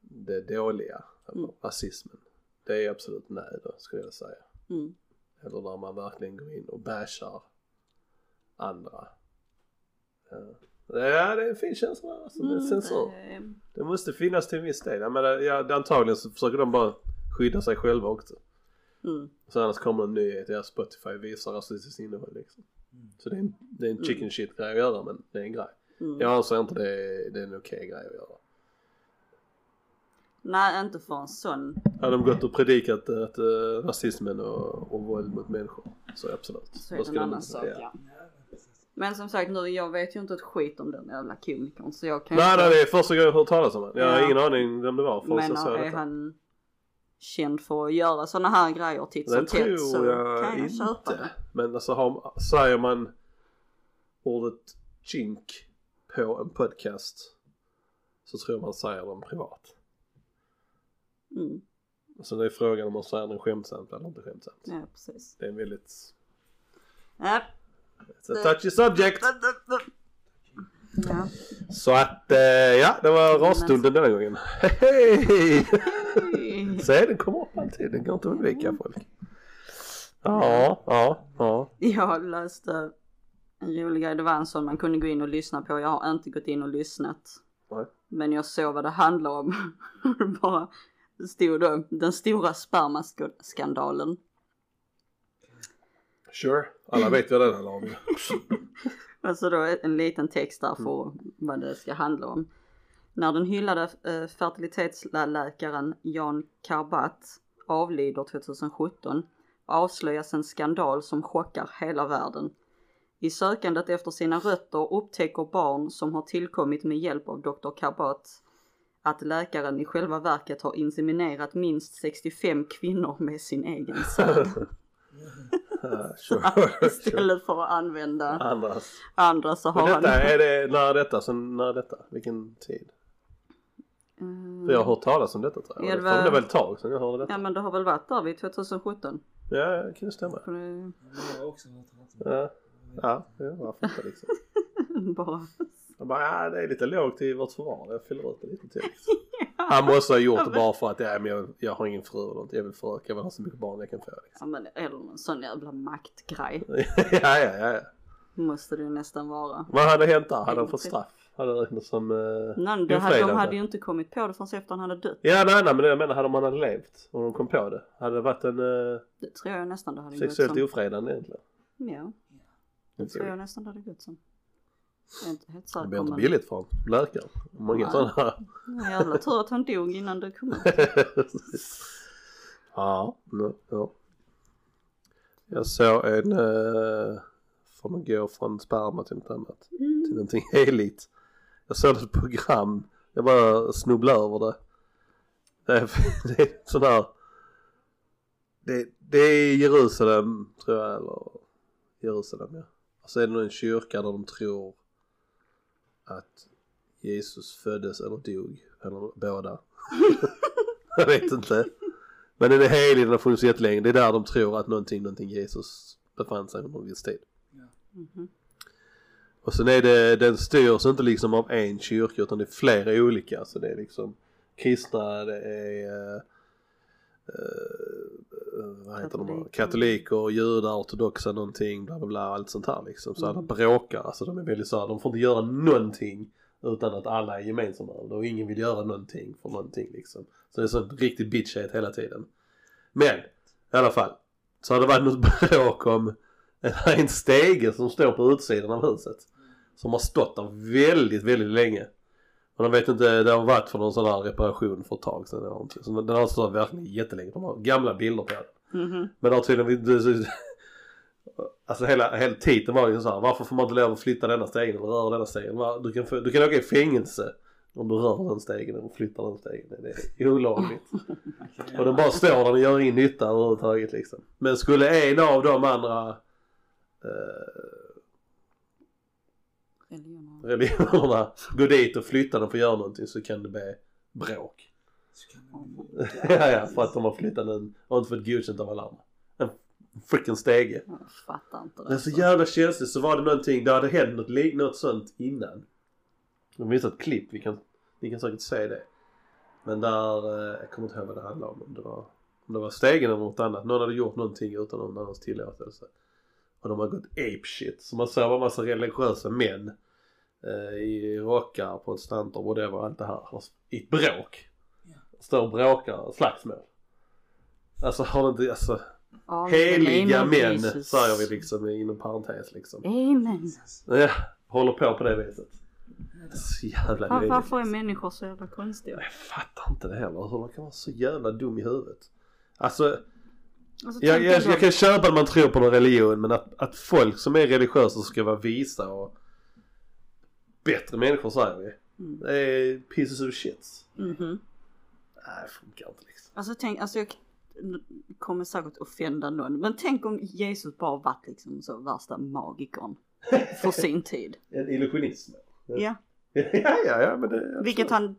Speaker 1: det dåliga, eller
Speaker 2: Mm.
Speaker 1: rasismen. Det är absolut nej då skulle jag säga.
Speaker 2: Mm.
Speaker 1: Eller när man verkligen går in och bashar andra. Ja. Ja, det är en fin känsla alltså. Det är
Speaker 2: Mm,
Speaker 1: censur.
Speaker 2: det-
Speaker 1: Det måste finnas till en viss del. Jag menar, ja, antagligen så försöker de bara skydda sig själva också.
Speaker 2: Mm.
Speaker 1: Så annars kommer en nyhet, ja Spotify visar rasistiskt innehåll liksom.
Speaker 3: Mm.
Speaker 1: Så det är en, det är en chicken shit grej att göra men det är en grej.
Speaker 2: Mm.
Speaker 1: Jag anser inte det är, det är en okej grej att göra.
Speaker 2: Nej inte för en sån.
Speaker 1: Hade de gått och predikat eh, att uh, rasismen och, och våld mot människor så absolut.
Speaker 2: Så är
Speaker 1: Då
Speaker 2: det en
Speaker 1: skulle de
Speaker 2: annan
Speaker 1: inte-
Speaker 2: sak ja.
Speaker 3: Ja, precis.
Speaker 2: Men som sagt nu, jag vet ju inte ett skit om den jävla komikern så jag kan ju
Speaker 1: Nej
Speaker 2: inte...
Speaker 1: nej det är första gången jag har hört talas om det. Jag har
Speaker 2: Ja.
Speaker 1: ingen aning vem det var förrän
Speaker 2: Men eh,
Speaker 1: jag såg
Speaker 2: är
Speaker 1: detta.
Speaker 2: han känd för att göra sådana här grejer titt
Speaker 1: Det
Speaker 2: som tätt så
Speaker 1: tror jag
Speaker 2: kan jag köpa
Speaker 1: inte.
Speaker 2: det.
Speaker 1: Men alltså har, säger man ordet chink på en podcast så tror jag man säger den privat.
Speaker 2: Mm.
Speaker 1: Så det är frågan om man säger den skämtsamt eller inte skämtsamt.
Speaker 2: Ja precis.
Speaker 1: Det är en väldigt
Speaker 2: Ja.
Speaker 1: it's a touchy subject.
Speaker 2: Ja.
Speaker 1: Så att eh, ja, det var rasstunden denna gången. Hej! Se den kommer upp alltid, den går inte att undvika
Speaker 2: Mm.
Speaker 1: folk. Ja, ja, ja.
Speaker 2: Jag läste en rolig grej, det var en sån man kunde gå in och lyssna på. Jag har inte gått in och lyssnat.
Speaker 1: Nej.
Speaker 2: Men jag såg vad det handlar om. Bara det stod då den stora spermaskandalen.
Speaker 1: Sure, alla vet vad den handlar om.
Speaker 2: Alltså då en liten text
Speaker 1: Mm.
Speaker 2: där för vad det ska handla om. När den hyllade eh, fertilitetsläkaren Jan Karbat avlider 2017 avslöjas en skandal som chockar hela världen. I sökandet efter sina rötter upptäcker barn som har tillkommit med hjälp av Dr. Karbat att läkaren i själva verket Typ. har inseminerat minst 65 kvinnor med sin egen säd.
Speaker 1: Ja, sure, sure.
Speaker 2: Istället för att använda
Speaker 1: Andras.
Speaker 2: andra så
Speaker 1: Men
Speaker 2: har han...
Speaker 1: detta, är det när detta? Sen när detta? Vilken tid?
Speaker 2: Mm.
Speaker 1: För jag har hört talas om detta tror
Speaker 2: Ja,
Speaker 1: jag.
Speaker 2: det
Speaker 1: Det
Speaker 2: var-
Speaker 1: var väl ett tag sedan jag hörde
Speaker 2: Ja
Speaker 1: detta.
Speaker 2: men det har väl varit där vid 2017.
Speaker 1: Ja, det kan ju stämma.
Speaker 2: För det-
Speaker 3: Jag har också hört talas om det.
Speaker 1: Ja, ja, ja varför inte liksom.
Speaker 2: Bara...
Speaker 1: Jag bara, ja, det är lite lågt i vårt förvar. Jag fyller ut det lite till. Han måste ha gjort det bara för att ja, men jag, jag har ingen fru eller något. Jag vill fröka. Jag vill ha så mycket barn jag kan få. Liksom.
Speaker 2: Ja, men, eller någon sån jävla maktgrej.
Speaker 1: ja, ja, ja, ja.
Speaker 2: Måste det nästan vara.
Speaker 1: Vad hade hänt där? Hade han fått straff? Hade han räknats som... eh,
Speaker 2: Nej, det hade, de
Speaker 1: ofredande?
Speaker 2: hade ju inte kommit på det förrän efter han hade dött.
Speaker 1: Ja, nej, nej, men jag menar hade om han hade levt och de kom på det. Hade det varit en eh,
Speaker 2: Det tror jag nästan det hade gått
Speaker 1: sexuellt
Speaker 2: som.
Speaker 1: ofredande egentligen?
Speaker 2: Ja, det tror jag nästan det hade gått som. Jag är inte helt
Speaker 1: Det
Speaker 2: säker.
Speaker 1: blir inte
Speaker 2: men-
Speaker 1: billigt för honom. Läkaren. Många
Speaker 2: Nej.
Speaker 1: sådana.
Speaker 2: Ja, Jävla tur att han dog innan det kom ut.
Speaker 1: ja, no, ja. Jag såg en eh, från att gå från sperma till något annat. Till någonting heligt. Jag såg ett program. Jag bara snubblade över det. Det är, det är sån här. Det, det är i Jerusalem tror jag eller Jerusalem ja. Och så är det nog en kyrka där de tror att Jesus föddes eller dog. Eller båda. jag vet inte. Men den är helig, den har funnits jättelänge. Det är där de tror att någonting, någonting Jesus befann sig under en viss tid.
Speaker 2: Mhm.
Speaker 1: Och sen är det, den styrs inte liksom av en kyrka utan det är flera olika. Så det är liksom kristna, det är eh, eh, vad heter de?
Speaker 2: Katoliker.
Speaker 1: Katoliker, judar, ortodoxa någonting, bla bla bla, allt sånt här liksom. Så alla bråkar, alltså de är väldigt såhär, de får inte göra någonting utan att alla är gemensamma över det och ingen vill göra någonting för någonting liksom. Så det är sån riktig bitchhet hela tiden. Men, i alla fall. Så har det varit något bråk om en, en stege som står på utsidan av huset. Som har stått där väldigt, väldigt länge. Och de vet inte, det har varit för någon sån här reparation för ett tag sedan eller någonting. Så den har stått verkligen jättelänge. De har gamla bilder på den.
Speaker 2: Mhm.
Speaker 1: Men det har tydligen inte... Alltså hela, hela titeln var ju så här. Varför får man inte lov att flytta denna stegen eller röra denna stegen? Va? Du kan, få- du kan åka i fängelse om du rör den stegen eller flyttar den stegen. Det är olagligt. Och den bara står där och gör ingen nytta överhuvudtaget liksom. Men skulle en av de andra eh,
Speaker 2: Religioner.
Speaker 1: religionerna gå dit och flytta den för att göra någonting så kan det bli bråk.
Speaker 3: Så kan man-
Speaker 1: ja, ja, för att de har flyttat den och inte fått godkänt av alla andra. En freaking stege.
Speaker 2: Jag fattar inte det.
Speaker 1: Det
Speaker 2: alltså.
Speaker 1: är så jävla känsligt så var det någonting, det hade hänt något, lik- något sånt innan. De visade ett klipp, vi kan, ni kan säkert se det. Men där, eh, jag kommer inte ihåg vad det handlade om, om det var, om det var stegen eller något annat. Någon hade gjort någonting utan någon annans tillåtelse. Och de har gått ape shit. Så man såg en massa religiösa män eh, i rockar, protestanter, whatever, allt det här. I ett bråk.
Speaker 3: Ja.
Speaker 1: Står och bråkar, slagsmål. Alltså har det inte, alltså
Speaker 2: Ja, men
Speaker 1: Heliga
Speaker 2: amen,
Speaker 1: män
Speaker 2: Jesus.
Speaker 1: säger vi liksom inom parentes liksom.
Speaker 2: Amen.
Speaker 3: Jesus.
Speaker 1: Ja, håller på på det viset. Så jävla
Speaker 2: Var,
Speaker 1: löjligt.
Speaker 2: varför är människor så jävla konstiga?
Speaker 1: Jag fattar inte det heller. Hur man kan vara så jävla dum i huvudet. Alltså,
Speaker 2: Alltså,
Speaker 1: jag,
Speaker 2: tänk
Speaker 1: jag,
Speaker 2: ändå-
Speaker 1: jag kan köpa att man tror på någon religion men att, att folk som är religiösa ska vara visa och bättre människor säger vi.
Speaker 2: Mm.
Speaker 1: Det är pieces of shit.
Speaker 2: Mhm.
Speaker 1: Nej, det funkar inte liksom.
Speaker 2: Alltså tänk, alltså jag kommer säkert offenda någon. Men tänk om Jesus bara varit liksom så värsta magikern för sin tid.
Speaker 1: En illusionism.
Speaker 2: Ja,
Speaker 1: ja, ja, ja, men det...
Speaker 2: vilket han,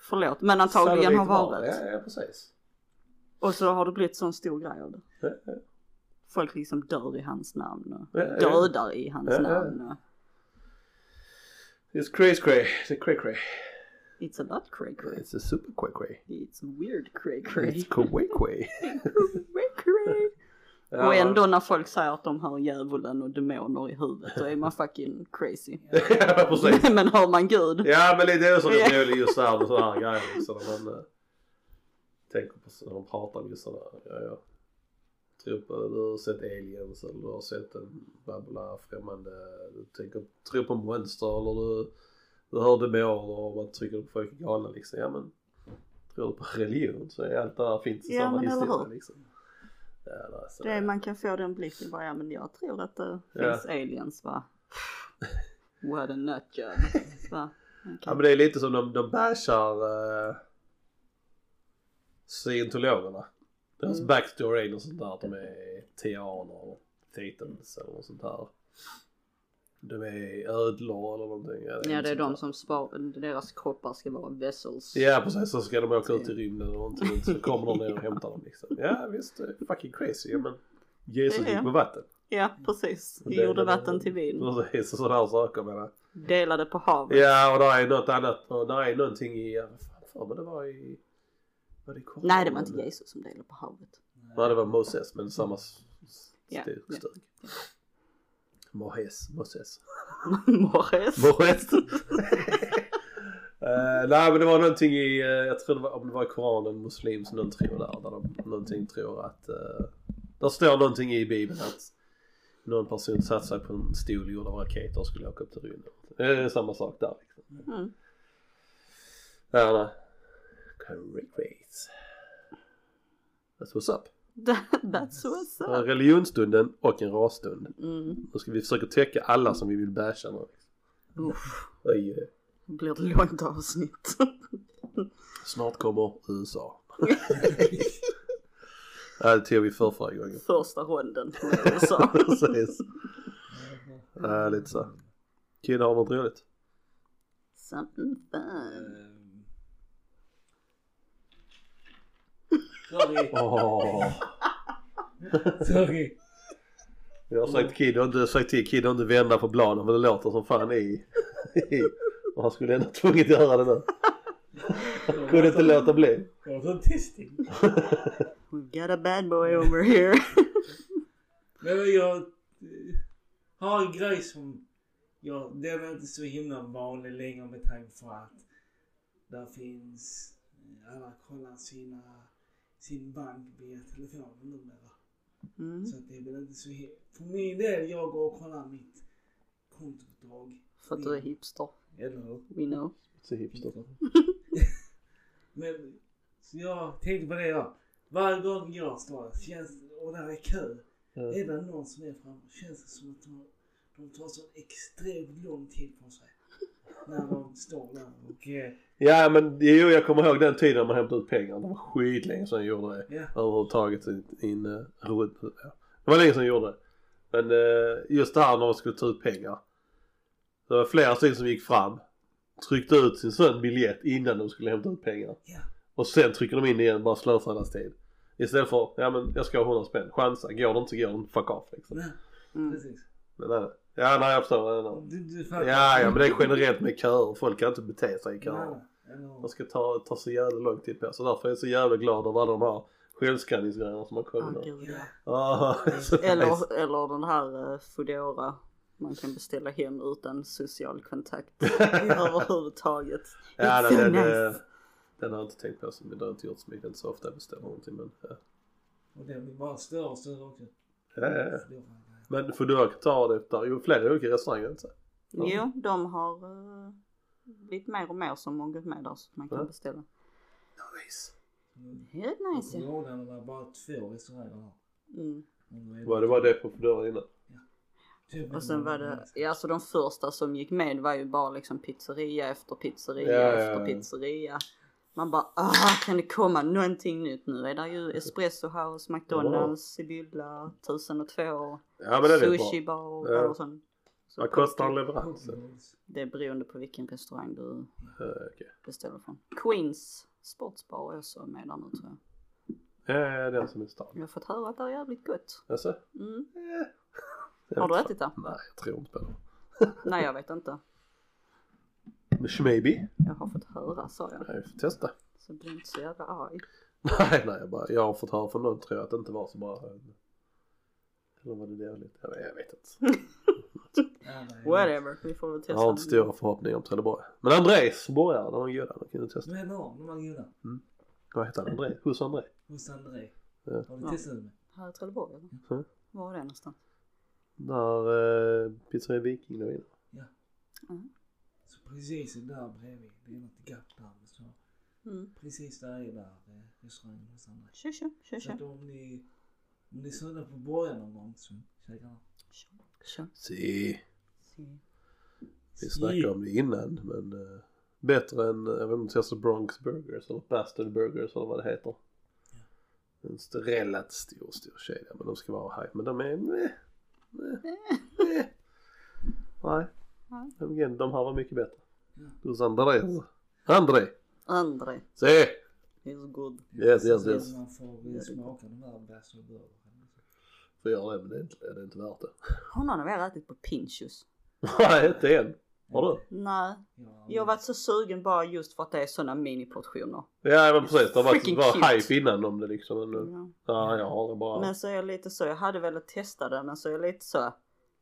Speaker 2: förlåt, men antagligen har
Speaker 1: Sannolikt var.
Speaker 2: varit.
Speaker 1: Ja, ja, precis.
Speaker 2: Och så har det blivit sån stor grej av det. Folk liksom dör i hans namn och
Speaker 1: Ja, ja.
Speaker 2: dödar i hans
Speaker 1: Ja, ja.
Speaker 2: namn. Och
Speaker 1: It's crazy cray. It's cray cray.
Speaker 2: it's a lot cray cray.
Speaker 1: It's a super cray cray.
Speaker 2: It's weird cray
Speaker 1: It's
Speaker 2: cray.
Speaker 1: cray cray.
Speaker 2: Cray cray. Och ändå när folk säger att de har djävulen och demoner i huvudet då är man fucking crazy.
Speaker 1: ja precis.
Speaker 2: Men hör man gud?
Speaker 1: Ja men lite så det är just där med sådana här grejer liksom. När man eh, tänker på så- när de pratar om just sådana här grejer. Tror på, Typ, eh, du har sett aliens eller du har sett en babbla främmande. Du tänker, tror på monster eller du, du hör demoner och man tycker att folk är galna liksom. Ja men tror du på religion så är allt det där finns i
Speaker 2: Ja,
Speaker 1: samma
Speaker 2: men eller
Speaker 1: historia
Speaker 2: hur?
Speaker 1: liksom. Ja, nej, så
Speaker 2: Det är, man kan få den blicken bara, ja men jag tror att det finns aliens va? What a nutjob. Va?
Speaker 1: Ja men det är lite som de, de bashar eh, scientologerna. Deras
Speaker 2: Mm.
Speaker 1: backstory är något sånt där att de är tianer och Titans eller något sånt här. De är ödlor eller någonting.
Speaker 2: Ja
Speaker 1: något
Speaker 2: det är
Speaker 1: sånt
Speaker 2: de
Speaker 1: där.
Speaker 2: som spar, deras kroppar ska vara vessels.
Speaker 1: Ja precis, så ska de åka ut i rymden och någonting och så kommer de ner och hämtar dem liksom. Ja visst, det är fucking crazy. Ja, men Jesus
Speaker 2: Ja, Mm. ja.
Speaker 1: gick på vatten. Alltså,
Speaker 2: Ja precis,
Speaker 1: Det-
Speaker 2: gjorde
Speaker 1: det-
Speaker 2: vatten till vin.
Speaker 1: Precis, och sådana saker menar jag.
Speaker 2: Delade på havet.
Speaker 1: Ja och där är något annat och där är någonting i, ja, vad fan för men det var i, var det i Koranen?
Speaker 2: Nej det var inte Jesus som delade på havet.
Speaker 1: Nej det var Moses men samma s- s-
Speaker 2: Ja,
Speaker 1: stuk.
Speaker 2: ja.
Speaker 1: stuk. Mohes, Moses.
Speaker 2: Morris.
Speaker 1: Mohes. Eh, nej men det var någonting i, eh, jag tror det var, om det var i Koranen, muslims någon tror där, där de någonting tror att, uh, där står någonting i Bibeln att någon person satte sig på en stol gjord av raketer och skulle åka upp till rymden. Det är samma sak där liksom.
Speaker 2: Mm.
Speaker 1: Ja, nej. Correct rates. That's what's up.
Speaker 2: That, that's what's
Speaker 1: Det
Speaker 2: up.
Speaker 1: var Religionsstunden och en rasstund.
Speaker 2: Mm.
Speaker 1: Nu ska vi försöka täcka alla som vi vill basha nu.
Speaker 2: Uff,
Speaker 1: Oj, eh,
Speaker 2: det blir ett långt avsnitt.
Speaker 1: snart kommer USA. Ja, det tog vi för förra gången.
Speaker 2: Första ronden med USA.
Speaker 1: Precis. Ja, Äh, lite så. Killar har något roligt.
Speaker 2: Something fun.
Speaker 3: Ehm. Sorry,
Speaker 1: Åh.
Speaker 3: sorry.
Speaker 1: Jag har sagt Kid och inte sagt till Kid att inte vända på bladen för det låter som fan i. i. Och han skulle ändå tvunget göra det nu. Kunde inte låta bli.
Speaker 3: Jag var så testig.
Speaker 2: We've got a bad boy over here.
Speaker 3: Nej men jag eh, har en grej som jag, den är inte så himla vanlig längre med tanke på att där finns, eh, alla kollar sina, sin bank via telefonen numera.
Speaker 2: Mm.
Speaker 3: Så att det är väl inte så he- För min del, jag går och kollar mitt kontoutdrag.
Speaker 2: För att du är
Speaker 3: Mm.
Speaker 2: hipster.
Speaker 3: Eller hur?
Speaker 2: We know.
Speaker 1: Så hipster.
Speaker 3: Men, så jag tänkte på det då. Varje gång jag står här, känns, och där är kö, är det någon som är framme känns det som att de, de tar så extremt lång tid på sig. När de står där och... eh,
Speaker 1: Ja men jo jag kommer ihåg den tiden man hämtade ut pengar. Det var skitlänge sedan jag gjorde det.
Speaker 3: Ja.
Speaker 1: Överhuvudtaget i i en eh, rund. ja. Det var länge sedan jag gjorde det. Men eh, just det här när man skulle ta ut pengar. Det var flera stycken som gick fram. Tryckte ut sin sån biljett innan de skulle hämta ut pengar.
Speaker 3: Ja.
Speaker 1: Och sen trycker de in igen bara slösar allas tid. Istället för, ja men jag ska ha 100 spänn, chansa, går det inte så går det inte, fuck off liksom.
Speaker 3: Nej,
Speaker 2: Mm.
Speaker 3: precis.
Speaker 1: Men, nej, nej. ja nej jag förstår. Nej, nej.
Speaker 3: Du, du
Speaker 1: Ja, ja men det är generellt med köer, folk kan inte bete sig i köer. Man ska ta, ta så jävla lång tid på sig. Därför är jag så jävla glad över alla de här självskanningsgrejerna som har kommit
Speaker 2: Ah,
Speaker 1: nu.
Speaker 2: gud, ja.
Speaker 1: Ah, så nice.
Speaker 2: Eller, eller den här eh, Foodora. Man kan beställa hem utan social kontakt överhuvudtaget.
Speaker 1: ja,
Speaker 2: It's
Speaker 1: den,
Speaker 2: so
Speaker 1: den,
Speaker 2: nice.
Speaker 1: eh, den har jag inte tänkt på så mycket, det har jag inte gjort så mycket, inte så ofta jag bestämmer någonting men. ja.
Speaker 3: Och den blir bara större och större också.
Speaker 1: Ja, ja, ja.
Speaker 3: Det är fan-
Speaker 1: Men får du ta det där, jo flera olika restauranger inte så? Ja.
Speaker 2: Jo, de har eh, blivit mer och mer som har gått med där så man kan
Speaker 1: Ja.
Speaker 2: beställa.
Speaker 1: Nice.
Speaker 3: Mm.
Speaker 2: Helt nice ja.
Speaker 3: Coronan var bara två restauranger här.
Speaker 2: mm.
Speaker 3: Mm,
Speaker 1: Var det bara det på Foodora innan?
Speaker 3: Typ
Speaker 2: Och sen var
Speaker 1: Mm.
Speaker 2: det, ja så de första som gick med var ju bara liksom pizzeria efter pizzeria
Speaker 1: Ja, ja,
Speaker 2: efter
Speaker 1: ja.
Speaker 2: pizzeria. Man bara ah kan det komma någonting nytt nu? Är det ju Espresso House, McDonalds, Sibylla, 1002,
Speaker 1: Ja men det är
Speaker 2: sushi
Speaker 1: bra.
Speaker 2: bar
Speaker 1: Ja.
Speaker 2: och sånt. Så
Speaker 1: Vad kostar en
Speaker 2: det?
Speaker 1: leverans? Eh,
Speaker 2: Det är beroende på vilken restaurang du
Speaker 1: Okej.
Speaker 2: beställer från. Queens Sportsbar är också med där nu tror jag.
Speaker 1: Ja, ja, ja, den som är stark.
Speaker 2: Jag har fått höra att det är jävligt gott.
Speaker 1: Jaså?
Speaker 2: Mm.
Speaker 1: Eh.
Speaker 2: Har du ätit det?
Speaker 1: Nej, jag tror inte på det.
Speaker 2: Nej jag vet inte.
Speaker 1: Men shmaybe?
Speaker 2: Jag har fått höra sa jag.
Speaker 1: Nej, vi får testa.
Speaker 2: Så bli inte så jävla arg.
Speaker 1: Nej, nej, jag, bara, jag har fått höra från någon tror jag att det inte var så bra. Eller var det dåligt? Jag vet, jag vet inte.
Speaker 2: Whatever, vi får väl testa.
Speaker 1: Jag har inte stora förhoppningar om Trelleborg. Men Andrés, borgare, det var en gudar. De kan ju testa.
Speaker 3: Du är norm, de var goda.
Speaker 1: Vad heter han? André? Hos André?
Speaker 3: Hos André.
Speaker 1: Ja.
Speaker 3: Har
Speaker 2: Ja.
Speaker 3: du testat det?
Speaker 2: Här i Trelleborg eller?
Speaker 1: Mm.
Speaker 2: Var är det någonstans?
Speaker 1: Där eh, pizzeria Viking låg innan.
Speaker 3: Så precis där bredvid, det är något gap där. Så
Speaker 2: Mm.
Speaker 3: precis där är där eh, restaurangen hos André.
Speaker 2: Tjo tjo, tjo
Speaker 3: Så att
Speaker 2: tjo.
Speaker 3: om ni, om ni snuddar på borgen någon gång så käkar ni.
Speaker 2: Tjo, tjo.
Speaker 1: Si.
Speaker 2: Si.
Speaker 1: Vi snackade om det innan men eh, bättre än, eh, jag vet inte, alltså Bronx Burgers eller Bastard Burgers eller vad det heter. En st- relativt stor, stor kedja men de ska vara hype. Men de är, meh. Nej.
Speaker 2: Nej.
Speaker 1: Men igen, de här var mycket bättre.
Speaker 3: Ja.
Speaker 1: Hos Andreas. André!
Speaker 2: André
Speaker 1: Se!
Speaker 2: is good.
Speaker 1: Yes, yes, yes.
Speaker 3: Man får eh, smaka de här bärs och bör.
Speaker 1: Får göra det, men det är inte, det är inte värt det.
Speaker 2: Har någon av er ätit på Pinchos?
Speaker 1: Nej, inte än. Har du?
Speaker 2: Nej, jag har varit så sugen bara just för att det är sådana miniportioner.
Speaker 1: Ja, men precis. Det har varit
Speaker 2: Freaking
Speaker 1: bara
Speaker 2: cute.
Speaker 1: hype innan om det liksom. Men nu.
Speaker 2: Ja.
Speaker 1: Ja, jag har det bara.
Speaker 2: Men så är jag lite så, jag hade velat testa det men så är jag lite så.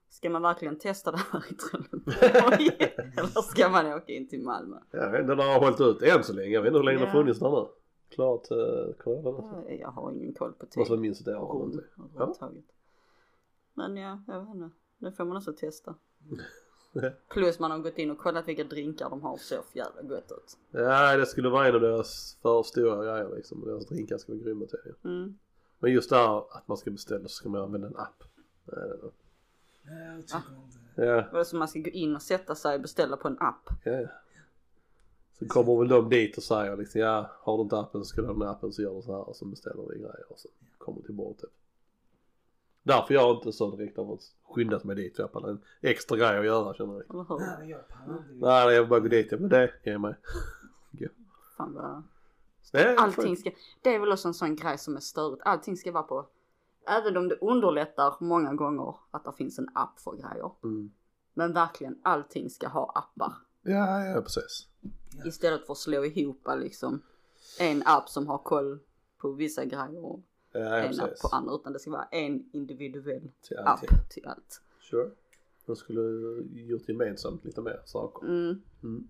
Speaker 2: Ska man verkligen testa det här i Trelleborg? Eller ska man åka in till Malmö?
Speaker 1: Ja, jag vet inte, den har hållit ut än så länge. Jag vet inte hur länge den har
Speaker 2: Ja.
Speaker 1: funnits där nu. Klart eh, coronan alltså.
Speaker 2: Jag har ingen koll på tid.
Speaker 1: Måste vara minst ett år eller någonting.
Speaker 2: överhuvudtaget. Men ja, jag vet inte. Det får man också testa. Plus man har gått in och kollat vilka drinkar de har och ser för jävla gott ut.
Speaker 1: Ja, det skulle vara en av deras för stora grejer liksom. Deras drinkar ska vara grymma till.
Speaker 2: Mm.
Speaker 1: Men just det här att man ska beställa så ska man använda en app. Nej, nej, nej.
Speaker 3: Nej, jag tycker inte det.
Speaker 1: Ja,
Speaker 2: Var det som man ska gå in och sätta sig och beställa på en app?
Speaker 1: ja. Så kommer väl de dit och säger liksom ja, har du inte appen så ska du ha den här appen så gör du så här och så beställer vi grejer och så kommer till bordet typ. Därför jag inte så direkt har fått skyndat mig dit. för Jag har en extra grej att göra känner jag.
Speaker 2: Eller hur?
Speaker 3: Nej, men jag pallar inte.
Speaker 1: Nej, nej, jag bara går dit. Jag bara det, ge mig.
Speaker 2: Fan vad...
Speaker 1: Nej,
Speaker 2: Allting ska... Det är väl också en sån grej som är störigt. Allting ska vara på... Även om det underlättar många gånger att det finns en app för grejer.
Speaker 1: Mm.
Speaker 2: Men verkligen allting ska ha appar.
Speaker 1: Ja, ja precis.
Speaker 2: Istället för att slå ihop liksom en app som har koll på vissa grejer och
Speaker 1: Ja, ja
Speaker 2: en app
Speaker 1: precis. typ.
Speaker 2: på andra utan det ska vara en individuell
Speaker 1: Till
Speaker 2: app
Speaker 1: allting.
Speaker 2: till allt.
Speaker 1: Sure. De skulle gjort gemensamt lite mer saker.
Speaker 2: Mm.
Speaker 1: Mm.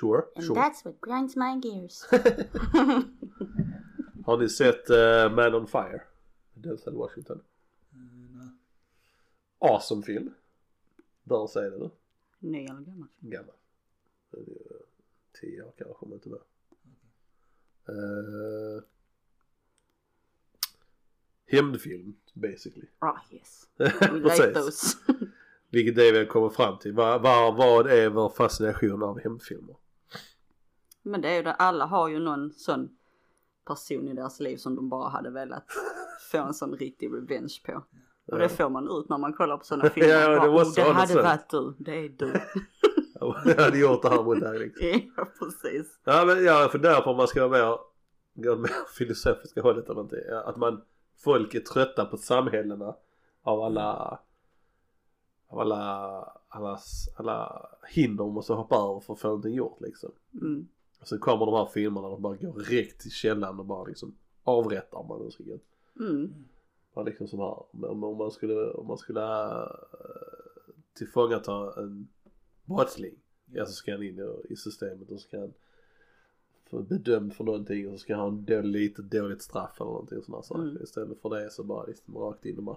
Speaker 1: Sure, sure.
Speaker 2: that's what grinds my gears.
Speaker 1: Har ni sett eh, Man on Fire? Denzel Washington.
Speaker 3: Mm, nej.
Speaker 1: Awesome film. Bör se den nu.
Speaker 2: Ny eller gammal?
Speaker 1: Gammal. Den är ju eh, Tio år kanske om inte mer. Uh, hämndfilm basically.
Speaker 2: Ah yes. We like
Speaker 1: Precis.
Speaker 2: those.
Speaker 1: Vilket det är vi kommer fram till. Vad, vad, vad är vår fascination av hämndfilmer?
Speaker 2: Men det är ju det, alla har ju någon sån person i deras liv som de bara hade velat få en sån riktig revenge på. Och det får man ut när man kollar på sådana filmer.
Speaker 1: Ja, det
Speaker 2: Bara,
Speaker 1: var
Speaker 2: "Oh,
Speaker 1: så
Speaker 2: det
Speaker 1: han
Speaker 2: hade
Speaker 1: sa.
Speaker 2: varit du, det är du.
Speaker 1: Jag hade gjort det här mot dig liksom.
Speaker 2: ja precis.
Speaker 1: Ja men jag funderar på om man ska vara mer, gå mer filosofiska hållet eller inte. Ja, Att man, folk är trötta på samhällena av alla, av alla, alla, alla hinder man måste hoppa över för att få någonting gjort liksom.
Speaker 2: Mm.
Speaker 1: Och så kommer de här filmerna och bara går direkt till källan och bara liksom avrättar man och så vidare.
Speaker 2: Mm.
Speaker 1: Man liksom som här, om, om man skulle, om man skulle äh, tillfångata en brottsling. Ja så ska han in i- i systemet och så ska han få bedömd för någonting och så ska han ha en dålig, lite dåligt straff eller någonting sådana saker.
Speaker 2: Mm.
Speaker 1: Istället för det så bara liksom rakt in och bara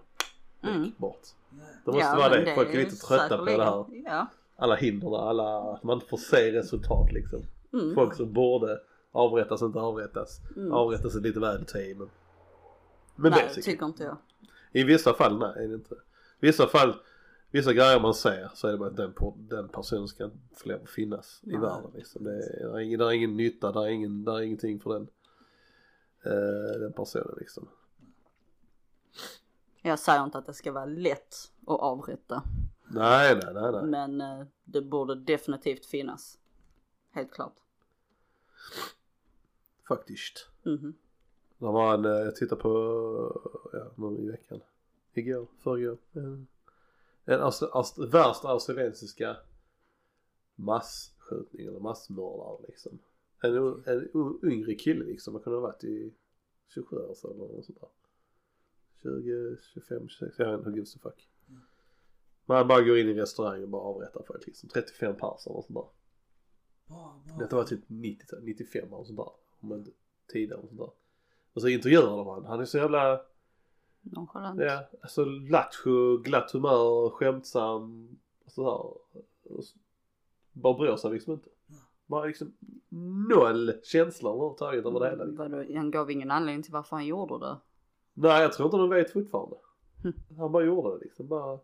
Speaker 2: Mm.
Speaker 1: bort.
Speaker 3: Nej.
Speaker 1: Det måste
Speaker 2: Ja,
Speaker 1: vara
Speaker 2: men
Speaker 1: det, folk är
Speaker 2: ju
Speaker 1: lite trötta på det här.
Speaker 2: säkerligen. Ja.
Speaker 1: Alla hindren, alla, att man inte får se resultat liksom.
Speaker 2: Mm.
Speaker 1: Folk som borde avrättas inte avrättas.
Speaker 2: Mm.
Speaker 1: Avrättas är lite väl att ta i men. Men
Speaker 2: Nej, typ
Speaker 1: basically.
Speaker 2: tycker inte jag.
Speaker 1: I vissa fall nej, är det inte. Vissa fall, vissa grejer man ser så är det bara att den, po- den personen ska inte få lov att finnas i
Speaker 2: Nej.
Speaker 1: världen liksom. Det är, där är ingen, där är ingen nytta, där är, ingen, där är ingenting för den, eh, den personen liksom.
Speaker 2: Jag säger inte att det ska vara lätt att avrätta.
Speaker 1: Nej, nej, nej, nej.
Speaker 2: Men eh, det borde definitivt finnas. Helt klart.
Speaker 1: Faktiskt.
Speaker 2: Mhm.
Speaker 1: Det var en, eh, jag tittade på, eh, ja, nu i veckan. Igår, förrgår. Mm. En aus, aus, värsta australiensiska massskjutning eller massmördare liksom. En, u- en u- yngre kille liksom, han kunde ha varit i 27 år sedan eller något sånt där. 20, 25, 26, jag vet inte, who gives a fuck. Man bara går in i restaurangen och bara avrättar folk liksom. 35 pers eller något sånt där.
Speaker 3: Bra, bra.
Speaker 1: Detta var typ 90, 95 eller sånt där. Om inte tidigare och sånt där. Och så intervjuar de han. Han är så jävla,
Speaker 2: Nonchalant.
Speaker 1: ja, alltså lattjo, glatt humör, skämtsam och sådär. Och så- Bara bryr sig liksom inte. Bara liksom noll känslor överhuvudtaget över det hela. liksom.
Speaker 2: Vadå, han gav ingen anledning till varför han gjorde det.
Speaker 1: Nej jag tror inte de vet fortfarande.
Speaker 2: Hm.
Speaker 1: Han bara gjorde det liksom. Bara,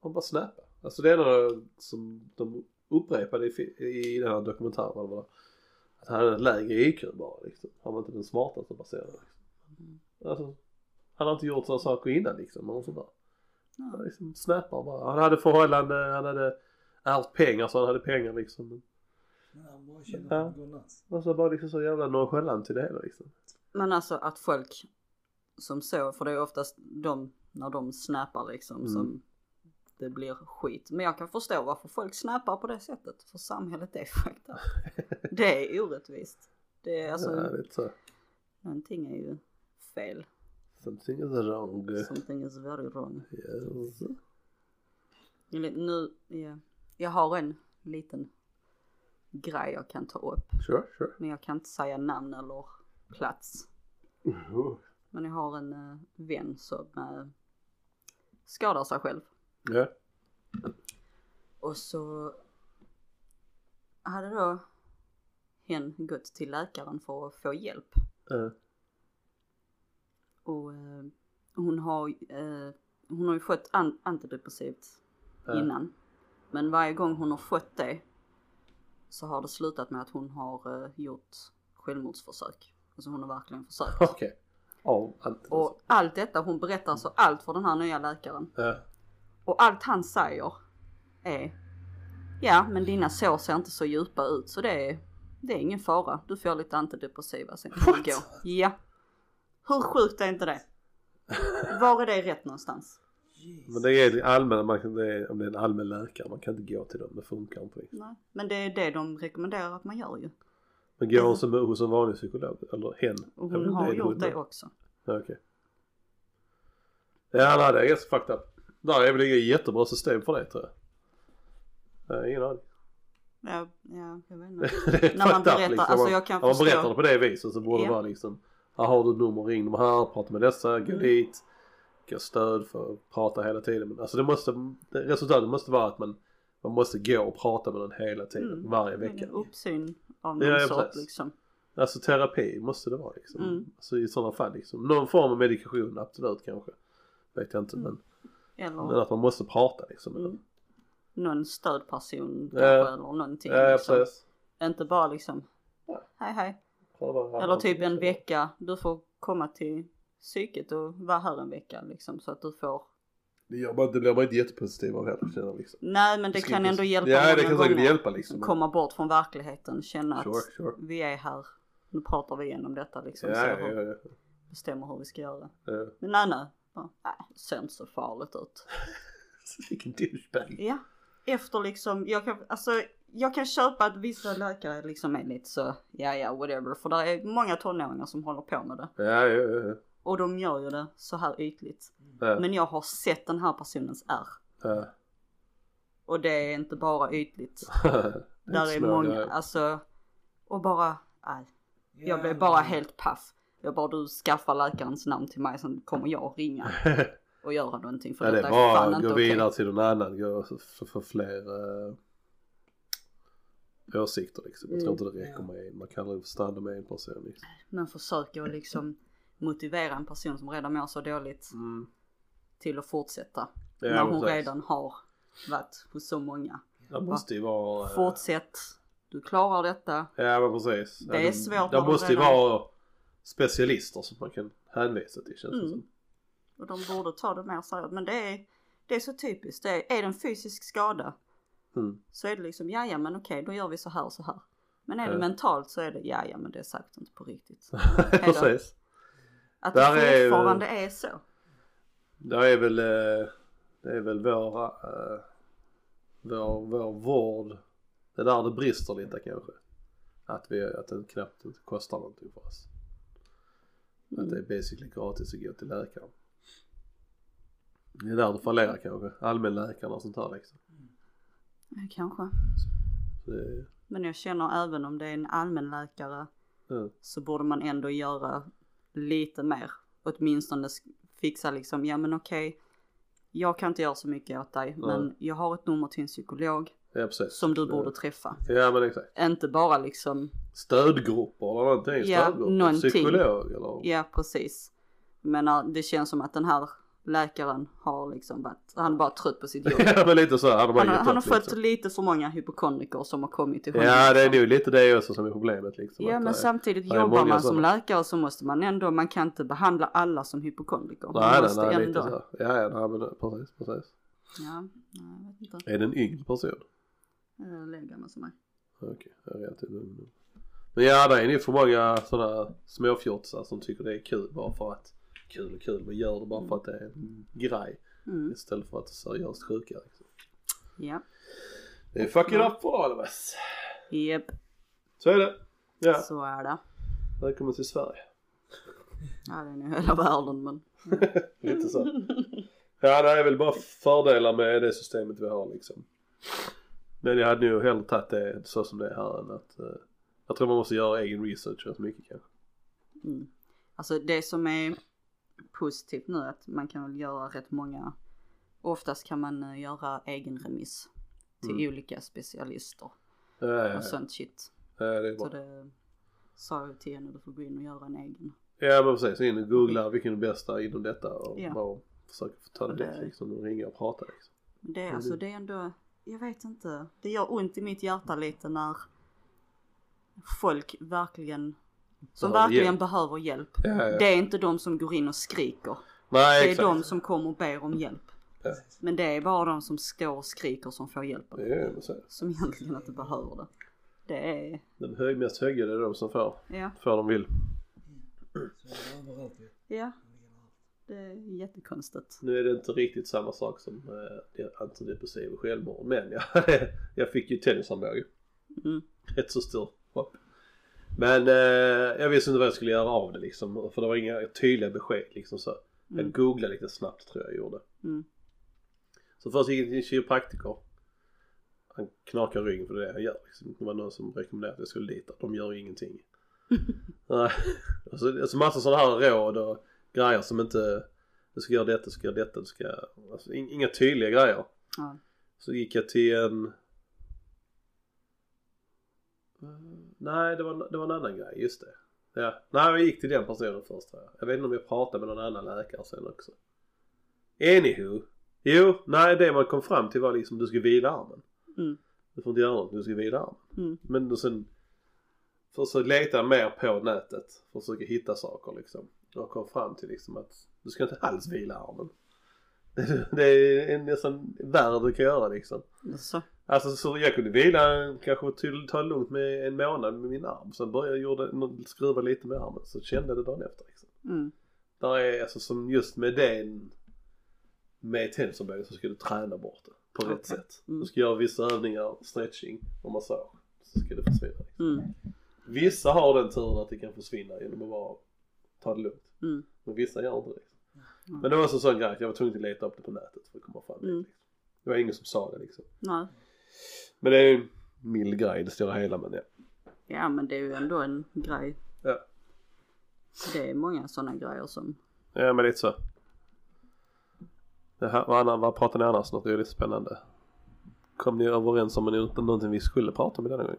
Speaker 1: han bara snappade. Alltså det enda som de upprepade i, fi- i den här dokumentären eller vad det var. Att han
Speaker 2: Mm.
Speaker 1: hade ett lägre IQ bara liksom. Han var inte den smartaste personen. Liksom. Alltså, Han har inte gjort sådana saker innan liksom. Eller något sånt där.
Speaker 2: Ja.
Speaker 1: Han liksom snappar bara. Han hade förhållande, han hade ärvt pengar så han hade pengar liksom.
Speaker 3: Men han bara känner att han går nuts.
Speaker 1: Och så bara liksom så jävla nonchalant till det hela liksom.
Speaker 2: Men alltså att folk som så, för det är oftast de, när de snappar liksom
Speaker 1: Mm.
Speaker 2: som det blir skit. Men jag kan förstå varför folk snappar på det sättet. För samhället är fucked up. Det är orättvist. Det är alltså,
Speaker 1: Ja, lite så.
Speaker 2: någonting är ju fel.
Speaker 1: Something is wrong.
Speaker 2: Something is very wrong.
Speaker 1: Yes.
Speaker 2: Eller Nu, ja. jag har en liten grej jag kan ta upp.
Speaker 1: Sure, sure.
Speaker 2: Men jag kan inte säga namn eller plats. Men jag har en eh, vän som eh, skadar sig själv.
Speaker 1: Ja.
Speaker 2: Och så hade då hen gått till läkaren för att få hjälp.
Speaker 1: eh,
Speaker 2: Och eh, hon, har, eh, hon har ju fått an- antidepressivt
Speaker 1: Ja.
Speaker 2: innan. Men varje gång hon har fått det så har det slutat med att hon har eh, gjort självmordsförsök. Alltså hon har verkligen försökt.
Speaker 1: Okej. Ja, alltid.
Speaker 2: Och allt detta, hon berättar så allt för den här nya läkaren.
Speaker 1: Eh,
Speaker 2: Och allt han säger är Ja men dina sår ser inte så djupa ut så det är, det är ingen fara. Du får lite antidepressiva sen kan du gå. Ja. Hur sjukt är inte det? Var är det rätt någonstans?
Speaker 1: Men
Speaker 3: Jesus.
Speaker 1: det är allmän, man kan, det är, om det är en allmän läkare, man kan inte gå till dem, det funkar inte. riktigt.
Speaker 2: Nej. Men det är det de rekommenderar att man gör ju.
Speaker 1: Men går hon som, hos en vanlig psykolog? Eller hen?
Speaker 2: Och
Speaker 1: Jag vet
Speaker 2: hon
Speaker 1: inte,
Speaker 2: har
Speaker 1: är
Speaker 2: gjort
Speaker 1: hon?
Speaker 2: det också.
Speaker 1: Ja, okej. Ja, nej, det är ganska fucked up. Där är väl inget jättebra system för det tror jag. jag. har Ingen aning.
Speaker 2: Ja, ja jag vet inte.
Speaker 1: Det är
Speaker 2: När man
Speaker 1: fucked up,
Speaker 2: berättar, alltså
Speaker 1: Om man-
Speaker 2: jag kan
Speaker 1: Om man
Speaker 2: förstå.
Speaker 1: berättar det på det viset så borde
Speaker 2: Ja.
Speaker 1: det vara liksom. Här har du ett nummer, ring de här, prata med dessa,
Speaker 2: Mm.
Speaker 1: gå dit. Gå stöd för att prata hela tiden. Men alltså det måste, det- resultatet måste vara att man, man måste gå och prata med den hela tiden,
Speaker 2: Mm.
Speaker 1: varje
Speaker 2: Det är
Speaker 1: vecka.
Speaker 2: en Uppsyn av någon
Speaker 1: Ja, ja,
Speaker 2: sort
Speaker 1: precis.
Speaker 2: liksom.
Speaker 1: Alltså terapi måste det vara liksom.
Speaker 2: Mm.
Speaker 1: Alltså i sådana fall liksom. Någon form av medikation absolut kanske. Vet jag inte
Speaker 2: Mm.
Speaker 1: men,
Speaker 2: Eller
Speaker 1: men att man måste prata liksom.
Speaker 2: Mm. någon stödperson
Speaker 1: Ja.
Speaker 2: kanske eller någonting.
Speaker 1: Ja, ja
Speaker 2: liksom.
Speaker 1: precis.
Speaker 2: Inte bara liksom
Speaker 1: Ja.
Speaker 2: hej hej.
Speaker 1: Kolla bara här.
Speaker 2: Eller typ
Speaker 1: liksom.
Speaker 2: en vecka, du får komma till psyket och vara här en vecka liksom så att du får.
Speaker 1: Det, gör man, det blir man inte jättepositiv av heller känner jag, liksom.
Speaker 2: Nej men det
Speaker 1: Skriv
Speaker 2: kan
Speaker 1: på-
Speaker 2: ändå hjälpa
Speaker 1: Ja det
Speaker 2: många
Speaker 1: kan säkert
Speaker 2: gånger.
Speaker 1: hjälpa liksom.
Speaker 2: Komma bort från verkligheten, känna att
Speaker 1: Sure, sure.
Speaker 2: vi är här, nu pratar vi igenom detta liksom.
Speaker 1: Ja,
Speaker 2: så
Speaker 1: ja,
Speaker 2: hur-
Speaker 1: ja, ja.
Speaker 2: Bestämmer hur vi ska göra.
Speaker 1: Ja.
Speaker 2: Men nej nej, bara, nej det ser inte så farligt ut.
Speaker 1: Vilken douchebag.
Speaker 2: Ja, efter liksom, jag kan, alltså jag kan köpa att vissa läkare liksom är lite så, ja ja whatever. För det är många tonåringar som håller på med det.
Speaker 1: Ja, ja, ja.
Speaker 2: Och de gör ju det så här ytligt.
Speaker 1: ja.
Speaker 2: Men jag har sett den här personens ärr.
Speaker 1: Ja.
Speaker 2: Och det är inte bara ytligt. Där är
Speaker 1: Smör,
Speaker 2: många,
Speaker 1: ja.
Speaker 2: alltså. Och bara, nej. Jag blev
Speaker 3: Jävlar.
Speaker 2: bara helt paff. Jag bara du skaffar läkarens namn till mig sen kommer jag ringa och göra någonting för
Speaker 1: Ja, det
Speaker 2: detta är fan
Speaker 1: var
Speaker 2: inte
Speaker 1: gå
Speaker 2: okej.
Speaker 1: vidare till någon annan, gå för, för fler eh, åsikter liksom. Jag tror inte
Speaker 2: Mm,
Speaker 1: det räcker med en, man kan aldrig stanna med en person liksom.
Speaker 2: Men försöker liksom motivera en person som redan mår så dåligt
Speaker 1: Mm.
Speaker 2: till att fortsätta.
Speaker 1: Ja,
Speaker 2: när hon
Speaker 1: precis.
Speaker 2: redan har varit hos så många.
Speaker 1: Det måste ju vara... eh,
Speaker 2: Fortsätt, du klarar detta.
Speaker 1: Ja men precis. Ja,
Speaker 2: Det är svårt när
Speaker 1: Det
Speaker 2: de
Speaker 1: måste ju
Speaker 2: redan-
Speaker 1: vara specialister som man kan hänvisa till känns det
Speaker 2: Mm.
Speaker 1: som.
Speaker 2: Och de borde ta det mer seriöst. Men det är, det är så typiskt. Det är, är det en fysisk skada
Speaker 1: Mm.
Speaker 2: så är det liksom ja ja men okej då gör vi så här och så här. Men är det
Speaker 1: Ja.
Speaker 2: mentalt så är det ja ja men det är säkert inte på riktigt.
Speaker 1: precis.
Speaker 2: Att
Speaker 1: Där
Speaker 2: det
Speaker 1: är-
Speaker 2: fortfarande är, så.
Speaker 1: Det är väl, eh, det är väl vår, eh, vår, vår vård. Det är där det brister lite kanske. Att, vi, att det knappt inte kostar någonting för oss. Att det är basically gratis att gå till läkaren. Det är där det fallerar kanske. Allmänläkarna och sånt här liksom.
Speaker 2: Ja, Mm, Kanske.
Speaker 1: Så det är,
Speaker 2: Men jag känner även om det är en allmänläkare
Speaker 1: mm.
Speaker 2: så borde man ändå göra lite mer. Åtminstone sk- fixa liksom, ja men okej, jag kan inte göra så mycket åt dig
Speaker 1: Mm.
Speaker 2: men jag har ett nummer till en psykolog
Speaker 1: Ja precis.
Speaker 2: som du borde träffa.
Speaker 1: Ja men exakt.
Speaker 2: Inte bara liksom,
Speaker 1: Stödgrupper eller någonting.
Speaker 2: Ja,
Speaker 1: Stödgrupper.
Speaker 2: någonting.
Speaker 1: Psykolog eller?
Speaker 2: ja precis. Men äh, det känns som att den här läkaren har liksom varit, han är bara trött på sitt jobb.
Speaker 1: Ja, men lite så. Han har bara
Speaker 2: Han, har-
Speaker 1: gett
Speaker 2: han har
Speaker 1: upp
Speaker 2: fått
Speaker 1: liksom.
Speaker 2: lite för många hypokondriker som har kommit till honom.
Speaker 1: Ja, det är
Speaker 2: liksom.
Speaker 1: nog lite det också som är problemet liksom.
Speaker 2: Ja
Speaker 1: att,
Speaker 2: men
Speaker 1: eh,
Speaker 2: samtidigt
Speaker 1: det är
Speaker 2: jobbar
Speaker 1: många
Speaker 2: man som
Speaker 1: sådana.
Speaker 2: läkare så måste man ändå, man kan inte behandla alla som hypokondriker.
Speaker 1: Nej,
Speaker 2: Man
Speaker 1: nej,
Speaker 2: måste
Speaker 1: nej, lite
Speaker 2: ändå.
Speaker 1: så. Ja, ja, nej, men eh, precis, precis.
Speaker 2: Ja, nej, jag vet inte.
Speaker 1: Är det en yngre person?
Speaker 2: Jag lägger mig som mig.
Speaker 1: Okej, jag är relativt ung nu. Men ja, det är ju för många sådana småfjortisar som tycker det är kul bara för att kul och kul men gör det bara för att det är en grej
Speaker 2: Mm.
Speaker 1: istället för att det är seriöst sjuka. Liksom.
Speaker 2: Ja,
Speaker 1: Det är fucking
Speaker 2: Ja.
Speaker 1: up for all of us.
Speaker 2: Jep,
Speaker 1: Så är det. Ja,
Speaker 2: så är det.
Speaker 1: välkommen till Sverige.
Speaker 2: Ja det är nog hela världen men.
Speaker 1: Lite så. Ja, det är väl bara fördelar med det systemet vi har liksom. Men jag hade nog hellre tagit det så som det är här än att eh, jag tror man måste göra egen research rätt mycket kanske.
Speaker 2: Mm. Alltså det som är positivt nu är att man kan väl göra rätt många, oftast kan man eh, göra egen remiss till
Speaker 1: Mm.
Speaker 2: olika specialister
Speaker 1: Ja, ja,
Speaker 2: och sånt shit.
Speaker 1: ja, det är
Speaker 2: Alltså, Så
Speaker 1: bra.
Speaker 2: det sa jag till henne, du får gå in och göra en egen.
Speaker 1: Ja men precis, in och googla vilken är bästa inom detta och
Speaker 2: Ja.
Speaker 1: bara försöka få ta det
Speaker 2: Och
Speaker 1: dit
Speaker 2: det-
Speaker 1: liksom och ringa och prata liksom.
Speaker 2: Men det, är
Speaker 1: Mm.
Speaker 2: alltså, det är ändå, jag vet inte, det gör ont i mitt hjärta lite när folk verkligen, som
Speaker 1: Behöver
Speaker 2: verkligen
Speaker 1: hjälp.
Speaker 2: behöver hjälp.
Speaker 1: Ja, ja.
Speaker 2: Det är inte de som går in och skriker.
Speaker 1: Nej
Speaker 2: Det är
Speaker 1: exakt.
Speaker 2: de som kommer och ber om hjälp.
Speaker 1: Ja.
Speaker 2: Men det är bara de som står och skriker som får hjälp.
Speaker 1: Ja, men så är det.
Speaker 2: Som egentligen inte behöver det. Det är,
Speaker 1: Den hög, mest högljudda är de som får,
Speaker 2: ja,
Speaker 1: får de vill.
Speaker 3: Så det är överallt ju.
Speaker 2: ja,
Speaker 3: Det ligger överallt.
Speaker 2: det är jättekonstigt.
Speaker 1: Nu är det inte riktigt samma sak som eh, antidepressiv och självmord men jag, jag fick ju tennisarmbåge.
Speaker 2: Mm.
Speaker 1: Rätt så stor hopp. Men eh, jag visste inte vad jag skulle göra av det liksom för det var inga tydliga besked liksom så. Jag
Speaker 2: Mm.
Speaker 1: googlade lite snabbt tror jag gjorde.
Speaker 2: Mm.
Speaker 1: Så först gick jag till en kiropraktiker. Han knakar ryggen för det är det han gör. Liksom. Det var någon som rekommenderade att jag skulle dit. De gör ju ingenting. Nej. alltså, alltså massa sådana här råd och grejer som inte du ska göra detta, du ska göra detta, du ska... Alltså, in- inga tydliga grejer.
Speaker 2: Ja.
Speaker 1: Så gick jag till en... Mm, Nej, det var, det var en annan grej, just det. Ja. Nej, jag gick till den personen först tror jag. Jag vet inte om jag pratade med någon annan läkare sen också. Anywho. Jo, nej det man kom fram till var liksom du ska vila armen.
Speaker 2: Mm.
Speaker 1: Du får inte göra något, du ska vila armen.
Speaker 2: Mm.
Speaker 1: Men då sen försökte leta mer på nätet. Försöka hitta saker liksom. Och kom fram till liksom att du ska inte alls vila armen. Det är nästan värre du kan göra liksom.
Speaker 2: Så.
Speaker 1: Alltså så jag kunde vila kanske till, ta det lugnt med en månad med min arm. Sen började jag gjorde, skruva lite med armen så kände jag det dagen efter. Liksom.
Speaker 2: Mm.
Speaker 1: Där är alltså som just med den med tennisarmbågen så ska du träna bort det på rätt
Speaker 2: Okej.
Speaker 1: sätt.
Speaker 2: Mm.
Speaker 1: Du ska göra vissa övningar, stretching och massage. Så ska det försvinna.
Speaker 2: Mm.
Speaker 1: Vissa har den turen att det kan försvinna genom att bara ta det lugnt.
Speaker 2: Mm.
Speaker 1: Men vissa gör inte det.
Speaker 2: Mm.
Speaker 1: Men det var också en sån grej att jag var tvungen att leta upp det på nätet för att komma fram dit.
Speaker 2: Mm.
Speaker 1: Liksom. Det var ingen som sa det liksom.
Speaker 2: Nej.
Speaker 1: Men det är ju en mild grej i det stora hela men ja.
Speaker 2: Ja men det är ju ändå en grej.
Speaker 1: Ja,
Speaker 2: Det är många sådana grejer som,
Speaker 1: ja men lite så. Det här, vad, annan, vad pratar ni annars något roligt spännande? Kom ni överens om något- någonting vi skulle prata om denna gång?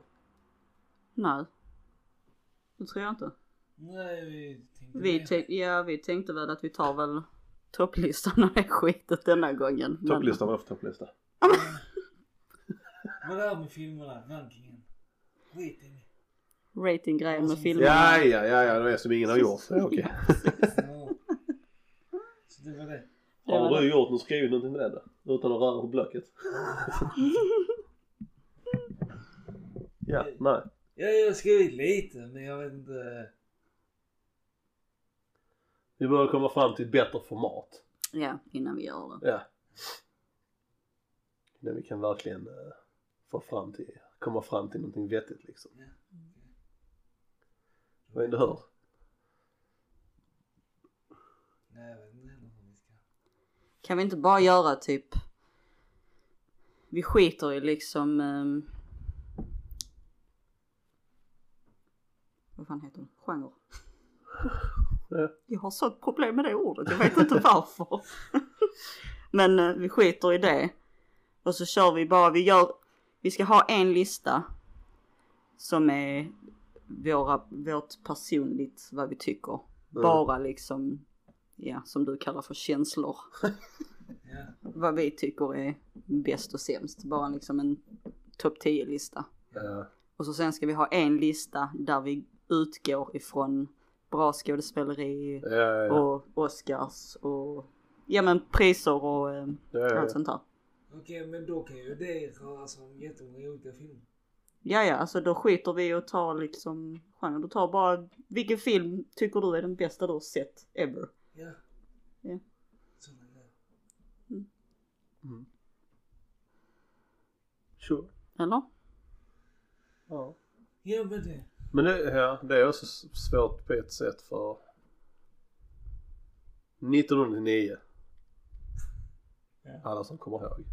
Speaker 2: nej. Det tror jag inte.
Speaker 3: Nej, vi tänkte
Speaker 2: Vi,
Speaker 3: mer.
Speaker 2: tänk, ja, vi tänkte väl att vi tar väl topplistan och det skitet denna gången. men-
Speaker 1: Topplista, varför topplista?
Speaker 3: Vad är det med filmerna? Rankingen? Skit i det.
Speaker 2: Ratinggrejen med filmerna.
Speaker 1: Ja, ja, ja, ja, det är som ingen har gjort. Ja, okej.
Speaker 3: Ja. Så det var det.
Speaker 2: Det var
Speaker 1: Har du gjort något, skrivit någonting med det då? Utan att röra på blocket? ja, nej.
Speaker 3: Ja, jag har skrivit lite men jag vet inte.
Speaker 1: Vi börjar komma fram till ett bättre format.
Speaker 2: Ja, innan vi gör det.
Speaker 1: Ja. Där vi kan verkligen eh, få fram till, komma fram till någonting vettigt liksom. Vad är det du hör?
Speaker 3: Nej, jag vet inte heller hur vi ska.
Speaker 2: Kan vi inte bara göra typ, vi skiter i liksom, ehm, vad fan heter det? Genre.
Speaker 1: Ja.
Speaker 2: Jag har sånt problem med det ordet, jag vet inte varför. Men eh, vi skiter i det. Och så kör vi bara, vi gör, vi ska ha en lista. Som är våra, vårt personligt, vad vi tycker. Bara liksom ja, som du kallar för känslor.
Speaker 3: Ja.
Speaker 2: Vad vi tycker är bäst och sämst. Bara liksom en topp 10-lista.
Speaker 4: Ja.
Speaker 2: Och så sen ska vi ha en lista där vi utgår ifrån bra skådespeleri
Speaker 4: Ja, ja, ja.
Speaker 2: och Oscars och ja men priser och eh,
Speaker 4: Ja, ja, ja.
Speaker 2: allt sånt där.
Speaker 3: Okej, men då kan ju det röra sig om jättemånga olika filmer.
Speaker 2: Ja ja, alltså då skiter vi och tar liksom genre. Du tar bara vilken film tycker du är den bästa du har sett ever?
Speaker 3: Ja.
Speaker 2: Ja.
Speaker 3: Sådana grejer.
Speaker 1: Sure.
Speaker 2: Eller?
Speaker 1: Ja.
Speaker 3: Ja, men det.
Speaker 1: Men det, ja, det är också s- svårt på ett sätt för 1999.
Speaker 3: Ja.
Speaker 1: Alla som kommer ihåg.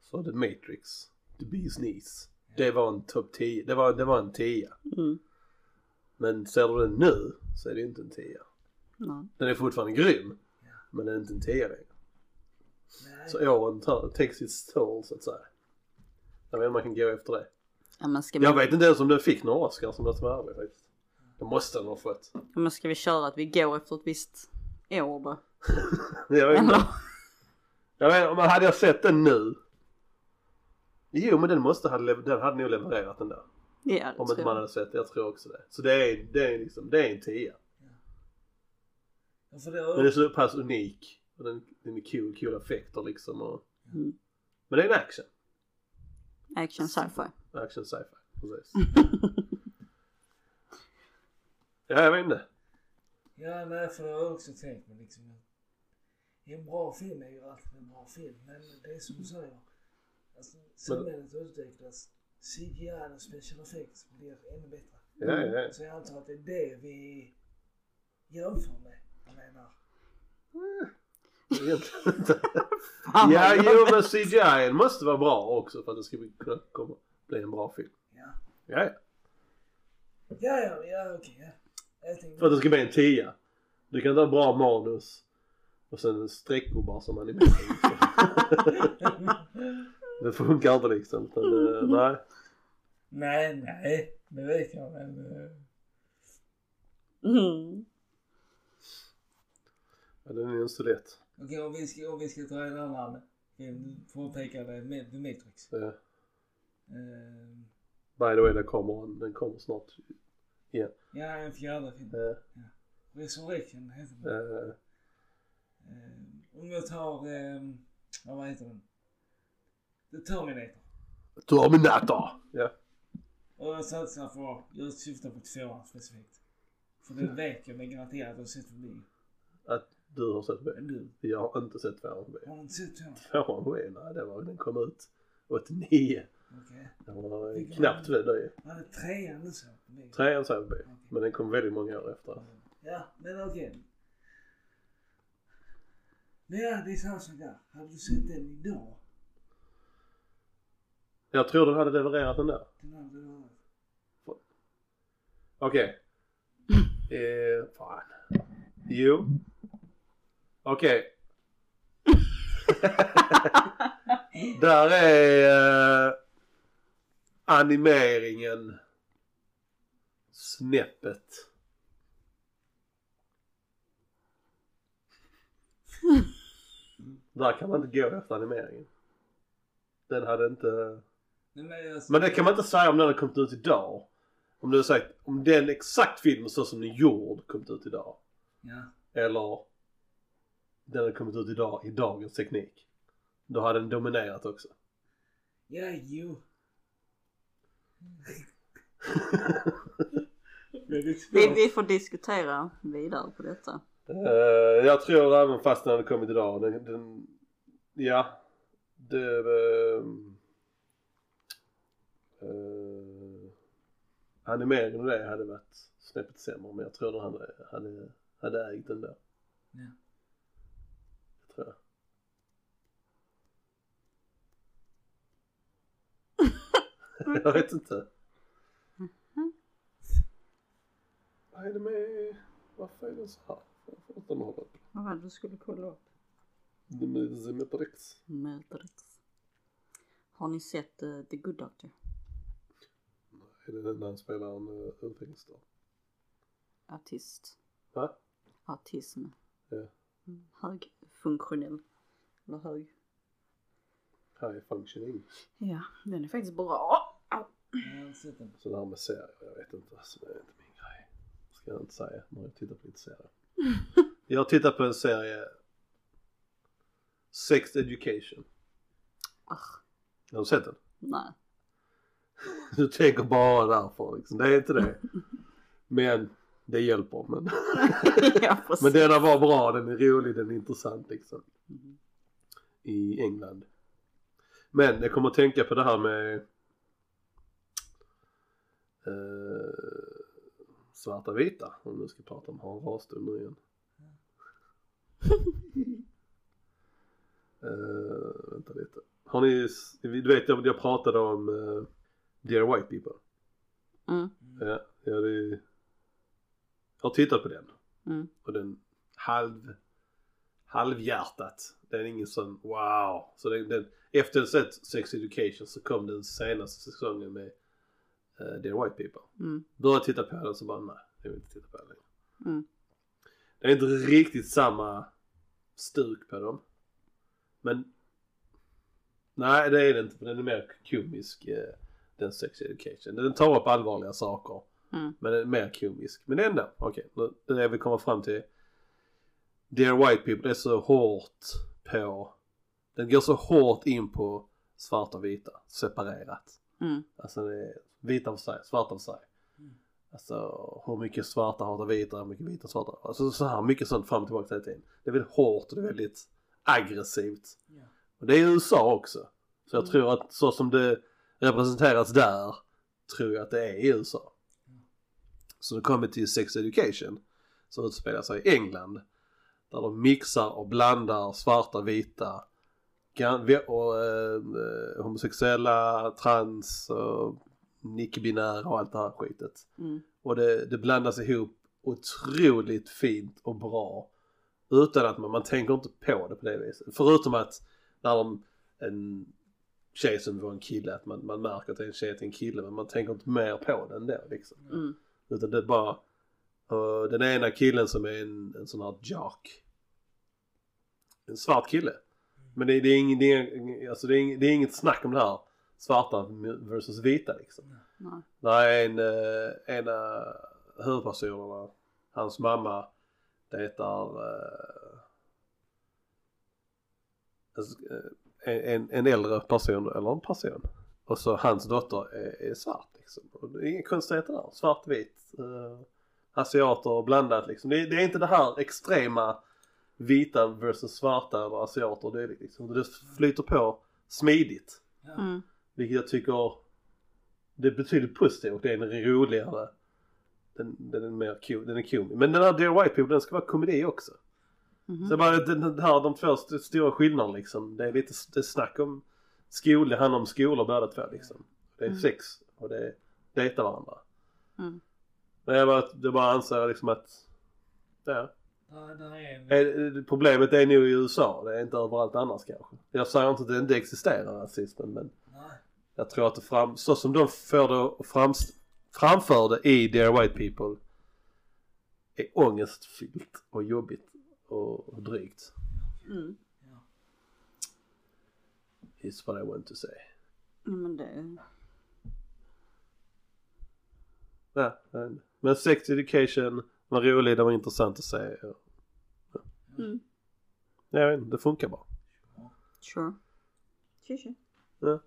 Speaker 1: Så The Matrix, The Bee's Knees. Det var en topp 10, det var, det var en 10.
Speaker 2: Mm.
Speaker 1: Men ser du den nu så är det inte en 10.
Speaker 2: Nej.
Speaker 1: Den är fortfarande grym. Men den är inte en 10 längre.
Speaker 3: Nej.
Speaker 1: Så åren tar- takes its toll så att säga. Jag vet inte om man kan gå efter det.
Speaker 2: Ja, men ska vi,
Speaker 1: Jag vet inte ens om den fick några Oscars om jag ska vara ärlig faktiskt. Det måste den ha fått.
Speaker 2: ja, men ska vi köra att vi går efter ett visst år då?
Speaker 1: Jag vet inte.
Speaker 2: Eller?
Speaker 1: Jag vet, inte, men hade jag sett den nu? Jo men den måste ha, lev- den hade nog levererat den där.
Speaker 2: Ja, det
Speaker 1: Om inte
Speaker 2: tror
Speaker 1: man
Speaker 2: jag.
Speaker 1: hade sett det. Jag tror också det. Så det är, det är liksom, det är en tia.
Speaker 3: Ja, för det
Speaker 1: Men
Speaker 3: har
Speaker 1: den är så pass unik. Och den, den är cool, coola effekter liksom. Och...
Speaker 2: Mm.
Speaker 1: Men det är en action.
Speaker 2: Action sci-fi.
Speaker 1: Action sci-fi. Precis. ja jag vet inte.
Speaker 3: Ja, nej, för det har jag också tänkt men liksom. jag- En bra film är ju alltid en bra film. Men det är som du säger. Alltså, samhället utvecklas. CGI och special effects blir ännu bättre.
Speaker 1: Ja, ja,
Speaker 2: Mm.
Speaker 1: ja.
Speaker 3: Så jag antar att det är det vi jämför med. Jag menar.
Speaker 1: Egentligen inte.
Speaker 2: Fan,
Speaker 1: ja,
Speaker 2: vad
Speaker 1: jo men CGI n måste vara bra också för att det ska bli- kunna komma, bli en bra film.
Speaker 3: Ja,
Speaker 1: Ja, ja.
Speaker 3: ja, ja, ja okej. ja. Jag
Speaker 1: För
Speaker 3: tänkte,
Speaker 1: att det ska bli en tia. Du kan inte ha bra manus och sen streckgubbar som animerar. det funkar inte liksom. Utan, eh, nej.
Speaker 3: nej, nej, det vet jag men. eh,
Speaker 2: Mm.
Speaker 1: Ja, den är ju inte så lätt.
Speaker 3: Okej, om, vi ska, om vi ska ta en annan film. Påpekade med The Matrix.
Speaker 1: Eh,
Speaker 3: Eh,
Speaker 1: by the way, den kommer, den kommer snart.
Speaker 3: ja, en fjärde film.
Speaker 1: Eh,
Speaker 3: Resurrection heter den.
Speaker 1: eh,
Speaker 3: Eh, om jag tar, eh, ja, vad heter den? The Terminator.
Speaker 1: Terminator! Ja.
Speaker 3: Och jag satsar på, jag syftar på tvåan specifikt. För det vet jag med garanterat att jag har sett förbi.
Speaker 1: Att du har sett mig.
Speaker 3: Men du,
Speaker 1: Jag har inte sett tvåan på mig.
Speaker 3: har du inte sett tvåan?
Speaker 1: Tvåan på mig? Nej, det var, den kom ut 89.
Speaker 3: Okej.
Speaker 1: Den var eh,
Speaker 3: Vilken
Speaker 1: knappt vid det.
Speaker 3: Var det trean du såg på bio?
Speaker 1: Trean såg vi,
Speaker 3: Okej.
Speaker 1: men den kom väldigt många år efter.
Speaker 3: Ja, men okej. Men Nou ja, det är samma sak där. Hade du sett den idag?
Speaker 1: Jag tror den hade levererat den där.
Speaker 3: Den hade du varit.
Speaker 1: Okej. Eh, fan. Jo. Okej. där är eh, animeringen snäppet. Där kan man inte gå efter animeringen. Den hade inte...
Speaker 3: Nej, men jag...
Speaker 1: Men det kan man inte säga om den hade kommit ut idag. Om, du hade sagt, om den exakt filmen så som den gjord kommit ut idag.
Speaker 3: Ja.
Speaker 1: Eller den hade kommit ut idag i dagens teknik. Då hade den dominerat också.
Speaker 3: Ja, jo.
Speaker 2: Vi, vi får diskutera vidare på detta.
Speaker 1: Eh, jag tror även fast den hade kommit idag. Den, den, ja. Det, eh, eh, animeringen och det hade varit snäppet sämre. Men jag tror den hade, hade, hade ägt den där.
Speaker 3: Ja.
Speaker 1: Det tror jag. jag vet inte. Vad är det med... Varför är den så här? Varför har den hållit?
Speaker 2: Vad var det du skulle kolla upp?
Speaker 1: Det är med på Rex.
Speaker 2: Mödrets. Har ni sett eh, The Good Doctor?
Speaker 1: Är det den där han spelar en eh, utvecklingsstörd?
Speaker 2: Autist.
Speaker 1: Va?
Speaker 2: Autism.
Speaker 1: Ja.
Speaker 2: Mm, Högfunktionell. Eller hög.
Speaker 1: High functioning.
Speaker 2: Ja, den är faktiskt bra. Au.
Speaker 3: Jag har sett den.
Speaker 1: Så det här med serier, jag vet inte. Alltså, det är inte min grej. Ska jag inte säga när jag tittar på lite serier. jag tittar på en serie Sex Education.
Speaker 2: Ah,
Speaker 1: Har du sett den?
Speaker 2: nej.
Speaker 1: Du tänker bara därför liksom. Det är inte det. Men det hjälper. Men,
Speaker 2: ja,
Speaker 1: men
Speaker 2: precis.
Speaker 1: denna var bra, den är rolig, den är intressant liksom.
Speaker 2: Mm.
Speaker 1: I England. Men jag kommer att tänka på det här med eh, svarta vita. Om vi ska prata om hanras nu igen. Eh, vänta lite. Har ni, du vet jag, jag pratade om eh, Dear White People.
Speaker 2: Mm.
Speaker 1: Ja, ja det är... Jag har tittat på den.
Speaker 2: Mm.
Speaker 1: Och den halv... Halvhjärtat. Den är ingen sån wow. Så den, den, efter jag sett Sex Education så kom den senaste säsongen med uh, Dear White People.
Speaker 2: Mm.
Speaker 1: Började titta på den så bara nej, jag vill inte titta på den längre.
Speaker 2: Mm.
Speaker 1: Det är inte riktigt samma stuk på dem. Men nej det är det inte för den är mer komisk eh, den Sex Education. Den tar upp allvarliga saker.
Speaker 2: Mm.
Speaker 1: Men den är mer komisk. Men ändå, okej. nu- Det är det vi kommer fram till. Dear White People är så hårt på. Den går så hårt in på svarta och vita. Separerat.
Speaker 2: Mm.
Speaker 1: Alltså det är vita för sig, svarta för sig. Alltså hur mycket svarta hatar vita, hur mycket vita svarta. Alltså så här mycket sånt fram och tillbaka hela tiden. Det är väldigt hårt och det är väldigt aggressivt.
Speaker 3: Ja.
Speaker 1: Och det är i USA också. Så jag tror att så som det representeras där tror jag att det är i USA. Så nu kommer vi till Sex Education som utspelar sig i England. Där de mixar och blandar svarta, vita gan- ve- och, eh, eh, homosexuella, trans och icke-binära och allt det här skitet.
Speaker 2: Mm.
Speaker 1: Och det, det blandas ihop otroligt fint och bra. Utan att man, man tänker inte på det på det viset. Förutom att när de, en tjej som var en kille, att man, man märker att det är en tjej till en kille men man tänker inte mer på den då liksom.
Speaker 2: Mm.
Speaker 1: Utan det är bara, eh, den ena killen som är en, en sån här jock. En svart kille. Men det, det, är ingen, det, är, ingen- alltså det, är, ingen- det är inget snack om det här svarta versus vita liksom.
Speaker 2: Nej.
Speaker 1: Nej, en, eh, en av huvudpersonerna, hans mamma, det heter eh, alltså, eh, en, en äldre person, eller en person. Och så hans dotter är, är svart liksom. Och det är inga konstigheter där. Svartvit, eh, asiater och blandat liksom. Det, är- det är inte det här extrema vita versus svarta eller asiater och det, liksom, det flyter på smidigt.
Speaker 3: Ja.
Speaker 2: Mm.
Speaker 1: Vilket jag tycker det betyder positivt och det är en roligare. Den, den är mer ko- den är komisk. Men den här Dear White People den ska vara komedi också.
Speaker 2: Mhm.
Speaker 1: Så bara den, den här, de två st- stora skillnaderna liksom. Det är lite s- det är snack om skol, det handlar om skolor båda två liksom. Det är
Speaker 2: Mm.
Speaker 1: sex och det är dejta varandra.
Speaker 2: Mm.
Speaker 1: Men jag bara, jag bara anser liksom att ja.
Speaker 3: Ja, där är en.
Speaker 1: Eh, Problemet är nog i USA, det är inte överallt annars kanske. Jag säger inte att det inte existerar rasismen men
Speaker 3: Nej.
Speaker 1: jag tror att det fram, så som de för det och frams, framförde i Dear White People är ångestfyllt och jobbigt och drygt.
Speaker 2: Mm.
Speaker 1: Is what I want to say.
Speaker 2: Ja, men det...
Speaker 1: Ja, men- men Sex Education var rolig, det var intressant att se.
Speaker 2: Mm.
Speaker 1: Ja, Jag vet inte, det funkar bara.
Speaker 2: Sure. Sure, sure.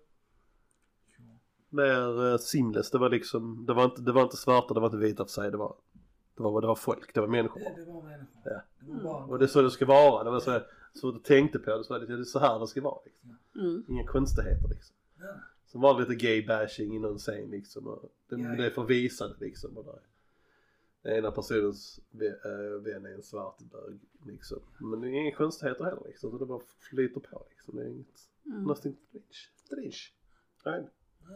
Speaker 1: Mer uh, seamless, det var liksom, det var, inte, det var inte svarta, det var inte vita för sig, det var, det var, det var folk, det var människor.
Speaker 3: Det, det var människor.
Speaker 1: Ja.
Speaker 3: Det var barn.
Speaker 1: Och det är så det ska vara, det var så, så jag tänkte på det, så var det, det är så här det ska vara. Liksom.
Speaker 2: Mm.
Speaker 1: Inga konstigheter liksom.
Speaker 3: Ja.
Speaker 1: Som var det lite gay bashing i någon scen liksom. Och den
Speaker 3: Ja, ja.
Speaker 1: blev förvisad liksom. Och där. Den ena personens vä- eh, vän är en svart bög liksom. Men det är inga konstigheter heller liksom. Så det bara flyter på liksom. Det är inget,
Speaker 2: Mm.
Speaker 1: nothing strange. strange. Right.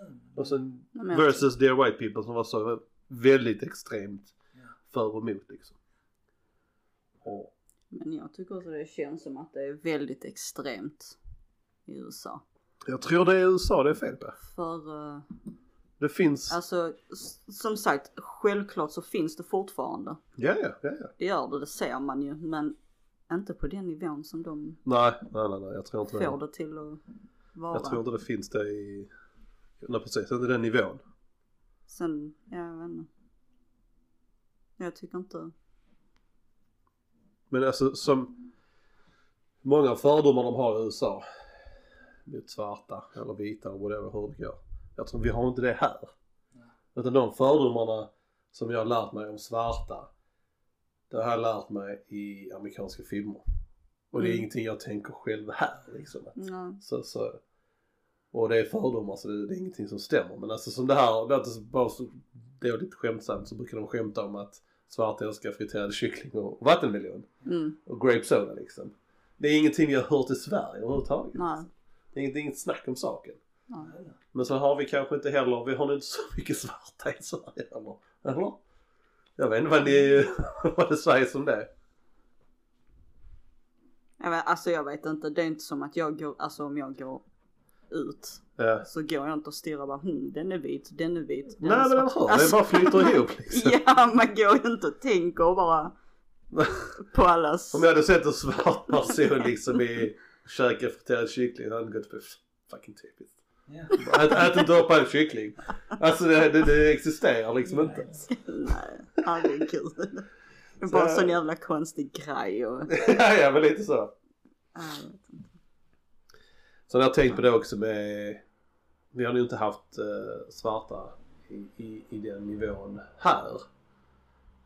Speaker 3: Mm.
Speaker 1: Och sen
Speaker 2: Ja, men jag-
Speaker 1: versus Dear White People som var så väldigt extremt
Speaker 3: Ja.
Speaker 1: för och emot liksom. Och,
Speaker 2: Men jag tycker också det känns som att det är väldigt extremt i USA.
Speaker 1: jag tror det är USA det är fel på.
Speaker 2: För eh,
Speaker 1: Det finns,
Speaker 2: alltså s- som sagt, självklart så finns det fortfarande.
Speaker 1: ja ja, ja ja.
Speaker 2: Det gör det, det ser man ju. Men inte på den nivån som de
Speaker 1: Nej, nej, nej, nej jag tror inte
Speaker 2: får
Speaker 1: det.
Speaker 2: det till att vara.
Speaker 1: Jag tror inte det finns det i... Nej precis, inte den nivån.
Speaker 2: Sen, ja, jag vet inte. Jag tycker inte.
Speaker 1: Men alltså som många fördomar de har i USA mot svarta eller vita eller whatever hur det går. Jag tror vi har inte det här. Utan de fördomarna som jag har lärt mig om svarta det har jag lärt mig i amerikanska filmer. Och det är
Speaker 2: Mm.
Speaker 1: ingenting jag tänker själv här liksom.
Speaker 2: Ja.
Speaker 1: Så, så. Och det är fördomar så det, det är ingenting som stämmer. Men alltså som det här, det är inte så- bara så dåligt skämtsamt så brukar de skämta om att svarta älskar friterad kyckling och vattenmelon
Speaker 2: Mm,
Speaker 1: och grape soda liksom. Det är ingenting vi har hört i Sverige överhuvudtaget.
Speaker 2: nej.
Speaker 1: Det är inget, det är inget snack om saken.
Speaker 2: nej.
Speaker 1: Men så har vi kanske inte heller, vi har nog inte så mycket svarta i Sverige heller. Eller? Jag vet inte vad ni, vad det sägs om det.
Speaker 2: Jag vet, alltså jag vet inte, det är inte som att jag går, alltså om jag går ut
Speaker 1: Ja.
Speaker 2: så går jag inte och stirrar bara hm, den är vit, den är vit, den
Speaker 1: Nej
Speaker 2: är
Speaker 1: men eller
Speaker 2: svart." Alltså,
Speaker 1: hur, det bara flyter ihop liksom.
Speaker 2: Ja, man går ju inte och tänker och bara på allas.
Speaker 1: Om jag hade sett en svart person liksom i käka friterad kyckling hade jag gått på fucking typiskt.
Speaker 3: Ja.
Speaker 1: Ät, ät inte upp en kyckling. Alltså det, det, det existerar liksom inte.
Speaker 2: Nej, herregud. Det är bara en
Speaker 1: Så-
Speaker 2: sån jävla konstig grej och...
Speaker 1: ja, ja men lite så.
Speaker 2: Ja, jag vet inte.
Speaker 1: Sen har jag tänkt på det också med, vi har ju inte haft eh, svarta i, i, i den nivån här.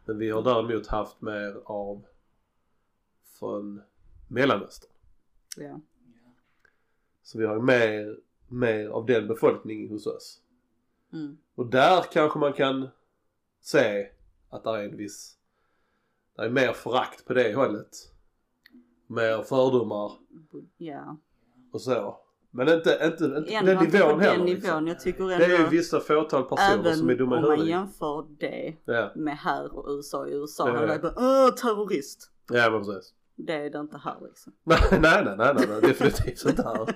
Speaker 1: Men vi har däremot haft mer av från Mellanöstern.
Speaker 2: Ja.
Speaker 1: Så vi har ju mer, mer av den befolkningen hos oss.
Speaker 2: Mm.
Speaker 1: Och där kanske man kan se att det är en viss, det är mer förakt på det hållet. Mer fördomar
Speaker 2: Ja.
Speaker 1: och så. Men inte, inte, inte
Speaker 2: Ändå
Speaker 1: den
Speaker 2: inte på
Speaker 1: nivån heller.
Speaker 2: den
Speaker 1: liksom.
Speaker 2: nivån. Jag tycker
Speaker 1: Det är ju
Speaker 2: ändå,
Speaker 1: vissa fåtal personer som är
Speaker 2: även
Speaker 1: dumma i
Speaker 2: om man
Speaker 1: huvudet.
Speaker 2: jämför det
Speaker 1: Ja.
Speaker 2: med här och USA. I USA
Speaker 1: Ja,
Speaker 2: hade
Speaker 1: ja.
Speaker 2: jag bara åh, terrorist.
Speaker 1: ja, men precis.
Speaker 2: Det är det inte här liksom.
Speaker 1: Nej, nej, nej, nej, nej definitivt inte här.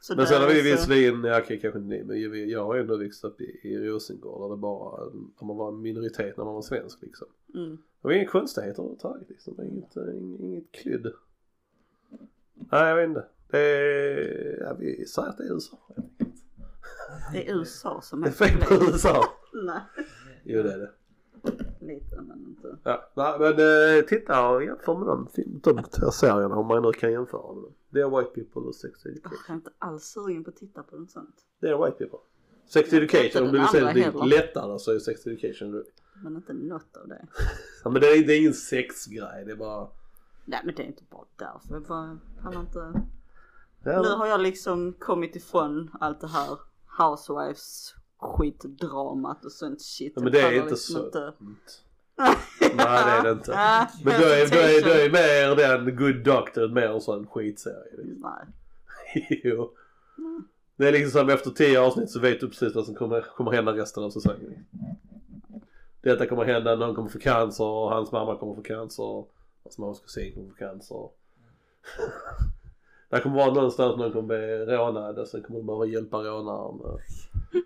Speaker 2: Så
Speaker 1: Men
Speaker 2: där
Speaker 1: sen har vi
Speaker 2: är så-
Speaker 1: visserligen, ja okej kanske inte ni, men vi- jag har ändå växt upp i, i Rosengård där det bara, om man var en minoritet när man var svensk liksom.
Speaker 2: Mm.
Speaker 1: Det var inga konstigheter överhuvudtaget liksom. Det var inget, eh, ing- inget klydd. Nej, jag vet inte. Det är, ja, vi säger att det är USA.
Speaker 2: Det är USA som
Speaker 1: Det
Speaker 2: är
Speaker 1: är fel på
Speaker 2: problemet.
Speaker 1: USA.
Speaker 2: Nej,
Speaker 1: Jo, det är det.
Speaker 2: lite men inte.
Speaker 1: Ja, nej, men eh, titta och jämför med de, film- de två serierna om man nu kan jämföra med dem. Det är White People och Sex
Speaker 2: Åh,
Speaker 1: Education.
Speaker 2: Jag är inte alls sugen på att titta på något sånt.
Speaker 1: Det är White People. Sex
Speaker 2: Jag vet inte
Speaker 1: Education, om du vill
Speaker 2: den
Speaker 1: säga
Speaker 2: andra
Speaker 1: det
Speaker 2: heller.
Speaker 1: lättare så är Sex Education
Speaker 2: Men inte något av det.
Speaker 1: ja, men det är, det är ingen sexgrej, det är bara...
Speaker 2: Nej men det är inte bara därför. Jag bara pallar inte. Nu
Speaker 1: Ja,
Speaker 2: har jag liksom kommit ifrån allt det här housewives skitdramat och sånt shit.
Speaker 1: men det
Speaker 2: Jag
Speaker 1: är
Speaker 2: pallar
Speaker 1: inte
Speaker 2: liksom
Speaker 1: så... Mm.
Speaker 2: inte.
Speaker 1: Nej, det är det inte.
Speaker 2: Ja,
Speaker 1: Men då är, då är, då
Speaker 2: hesitation.
Speaker 1: är mer den Good Doctor mer en sån skitserie.
Speaker 2: Nej.
Speaker 1: jo. Det är liksom som efter tio avsnitt så vet du precis vad som kommer, kommer hända resten av säsongen. Detta kommer hända, någon kommer få cancer, och hans mamma kommer få cancer, hans mammas kusin kommer få cancer. Det kommer vara någonstans någon kommer bli rånad och sen kommer de behöva hjälpa rånaren.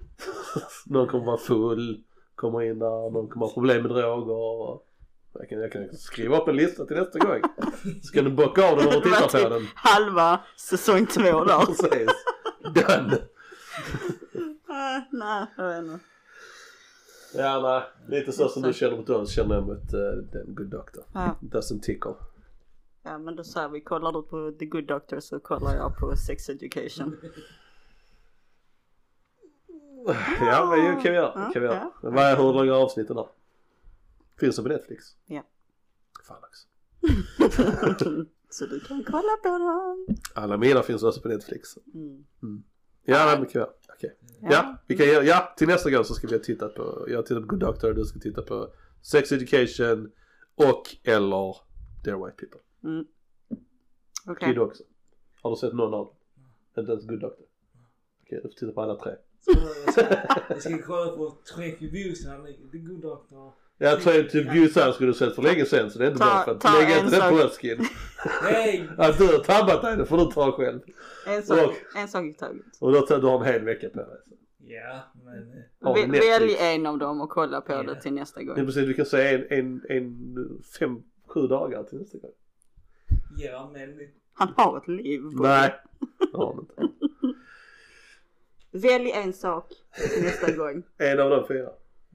Speaker 1: någon kommer vara full, kommer in där, någon kommer ha problem med droger. Jag kan, jag kan skriva upp en lista till nästa gång. Så kan du bocka av den och titta på den.
Speaker 2: typ halva säsong två där. Eh,
Speaker 1: Precis. Done.
Speaker 2: Ah, Nej, jag vet inte.
Speaker 1: Ja, nej. Lite så som du känner mot oss känner jag mot uh, den Good Doctor.
Speaker 2: Ja.
Speaker 1: Doesn't tickle.
Speaker 2: Ja men då säger vi, kollar du på The Good Doctor så kollar jag på Sex Education.
Speaker 1: Ja, men ju kan vi göra.
Speaker 2: Ja,
Speaker 1: Kan vi göra.
Speaker 2: ja.
Speaker 1: Vad är hur långa avsnitten då? Finns det på Netflix?
Speaker 2: Ja.
Speaker 1: Fan också.
Speaker 2: så du kan kolla på dem.
Speaker 1: Alla mina finns också på Netflix.
Speaker 2: Mm.
Speaker 1: Ja, nej, men kan vi göra. Okej.
Speaker 2: Ja.
Speaker 1: Ja, vi kan göra. Ja, till nästa gång så ska vi ha tittat på. Jag har tittat på Good Doctor och du ska titta på Sex Education och eller Dear White People.
Speaker 2: Okej.
Speaker 1: Kid också. Har du sett någon av dem? Inte ens Good Doctor? Okej, du får titta på alla tre.
Speaker 3: Så jag ska, jag ska kolla på Trek i Busan, The Good Doctor.
Speaker 1: Jag tror att typ Busan skulle du sett för länge sedan så det är inte
Speaker 2: Ta-
Speaker 1: bara för att
Speaker 2: ta
Speaker 1: lägga
Speaker 2: en
Speaker 1: inte det på
Speaker 2: sak.
Speaker 1: oss Kid.
Speaker 3: Nej!
Speaker 1: Att du har tabbat dig det får du ta själv.
Speaker 2: En sak,
Speaker 1: Och-
Speaker 2: en sak i taget.
Speaker 1: Och då tar du har en hel vecka på dig.
Speaker 3: Ja, men... eh,
Speaker 1: Har
Speaker 2: Vä-
Speaker 1: du Netflix?
Speaker 2: Välj en av dem och kolla på
Speaker 3: Ja.
Speaker 2: det till nästa
Speaker 1: Det är
Speaker 2: gång.
Speaker 1: precis, du kan säga en, en, en fem, sju dagar till nästa gång.
Speaker 3: Ja, men
Speaker 2: Han har ett liv. Bobby.
Speaker 1: Nej, det har han inte.
Speaker 2: Välj en sak till nästa gång.
Speaker 1: En av de fyra.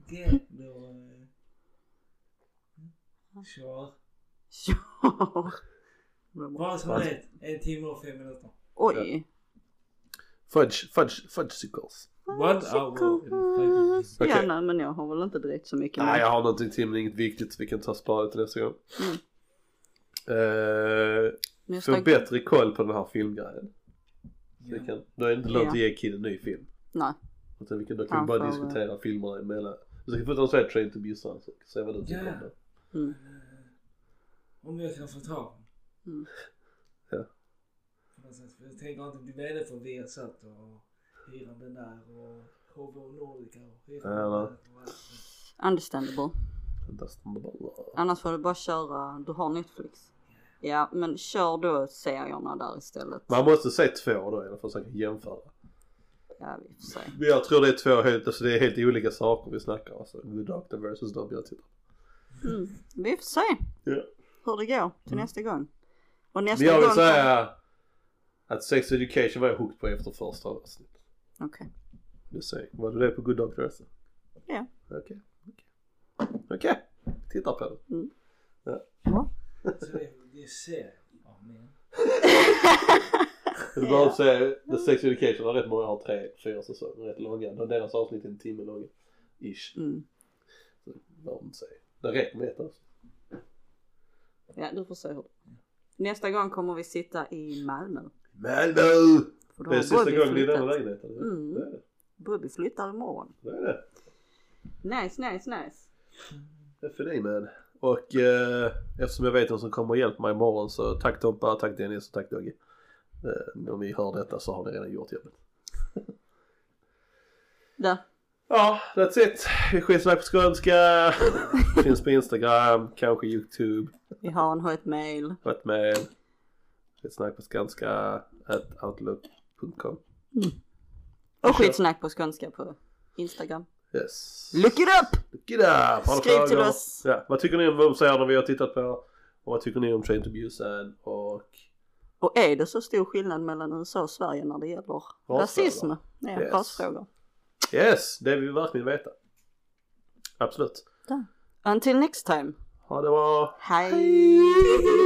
Speaker 3: det då... eh, Kör.
Speaker 2: Ja. Vad bra.
Speaker 3: Bara som vet, en timme och fem minuter.
Speaker 2: Oj.
Speaker 1: Fudge, fudge, fudgesicles.
Speaker 3: One hour and five minutes.
Speaker 2: Ja,
Speaker 1: Okej.
Speaker 2: nej, men jag har väl inte direkt så mycket.
Speaker 1: Nej,
Speaker 2: mer.
Speaker 1: jag har någonting till men inget viktigt så vi kan ta sparet till nästa gång.
Speaker 2: Mm.
Speaker 1: Eh,
Speaker 2: Nästa
Speaker 1: få
Speaker 2: gång.
Speaker 1: bättre koll på den här filmgrejen. Så vi
Speaker 3: Ja.
Speaker 1: kan, då är det inte lönt att ge killen en ny film.
Speaker 2: Nej.
Speaker 1: Utan vi kan, då kan vi
Speaker 2: Han
Speaker 1: bara
Speaker 2: får, eh,
Speaker 1: diskutera filmerna emellan. Så kan vi få säga Train to Busan så kan vi se vad du tycker
Speaker 3: Ja.
Speaker 1: om det.
Speaker 2: Mm.
Speaker 3: Om jag kan få tag på
Speaker 2: Mm.
Speaker 3: mm.
Speaker 1: Ja.
Speaker 3: Jag tänker inte bli vd för Viasat och hyra den där och HV Nordica och hyra
Speaker 1: Ja,
Speaker 3: den
Speaker 1: va.
Speaker 3: där. och allt.
Speaker 2: Understandable.
Speaker 1: Fantastiskt.
Speaker 2: Annars får du bara köra, du har Netflix. Ja, men kör då serierna där istället.
Speaker 1: Man måste se två då i alla fall så man kan jämföra.
Speaker 2: Ja, vi får se.
Speaker 1: Men jag tror det är två helt, alltså det är helt olika saker vi snackar om. Alltså Good Doctor versus de jag tittar på.
Speaker 2: Mm. Vi får se
Speaker 1: Ja. Mm.
Speaker 2: hur det går till nästa gång. Och nästa
Speaker 1: Men jag vill
Speaker 2: gång...
Speaker 1: säga att Sex Education var jag hooked på efter första avsnittet.
Speaker 2: Okej.
Speaker 1: Du säger, var du det på Good Doctor också?
Speaker 2: Ja.
Speaker 1: Okej. Okej. Okej. Tittar på det.
Speaker 2: Bra.
Speaker 3: Så det, det ser jag. men
Speaker 1: Du behöver säga, The Sex Education har rätt många, har tre, fyra säsonger, rätt långa. Och deras avsnitt är en timme långa. Ish.
Speaker 2: Mm.
Speaker 1: Så det behöver inte säga. Det räcker med ett avsnitt.
Speaker 2: Ja, du får se hur Nästa gång kommer vi sitta i Malmö.
Speaker 1: Malmö!
Speaker 2: För då
Speaker 1: Det är
Speaker 2: har
Speaker 1: sista
Speaker 2: Bobby
Speaker 1: gången i denna
Speaker 2: flyttat.
Speaker 1: lägenheten. eller hur?
Speaker 2: Mm.
Speaker 1: Det är det.
Speaker 2: Bobby flyttar imorgon.
Speaker 1: Det är det.
Speaker 2: Nice, nice, nice.
Speaker 1: Det är för dig man. Och eh, eftersom jag vet vem som kommer och hjälper mig imorgon så tack Tompa, tack Dennis och tack Dogge. Eh, om ni hör detta så har ni redan gjort jobbet.
Speaker 2: Där.
Speaker 1: Ja, that's it. Skitsnack på skånska. Finns på Instagram, kanske YouTube,
Speaker 2: Vi har en höjt mail.
Speaker 1: Hotmail. Skitsnack på skånska, at outlook.com.
Speaker 2: Och skitsnack på skånska på Instagram.
Speaker 1: Yes.
Speaker 2: Look it up!
Speaker 1: Look it up! Har ni
Speaker 2: Skriv till
Speaker 1: frågor?
Speaker 2: oss.
Speaker 1: Ja, vad tycker ni om våldsserierna vi har tittat på? Och vad tycker ni om Train to Busan? Och
Speaker 2: Och är det så stor skillnad mellan USA och Sverige när det gäller rasism? Ja,
Speaker 1: Yes.
Speaker 2: rasfrågor.
Speaker 1: yes, det vill vi verkligen veta. Absolut.
Speaker 2: Until next time.
Speaker 1: Ha det bra.
Speaker 2: Hej.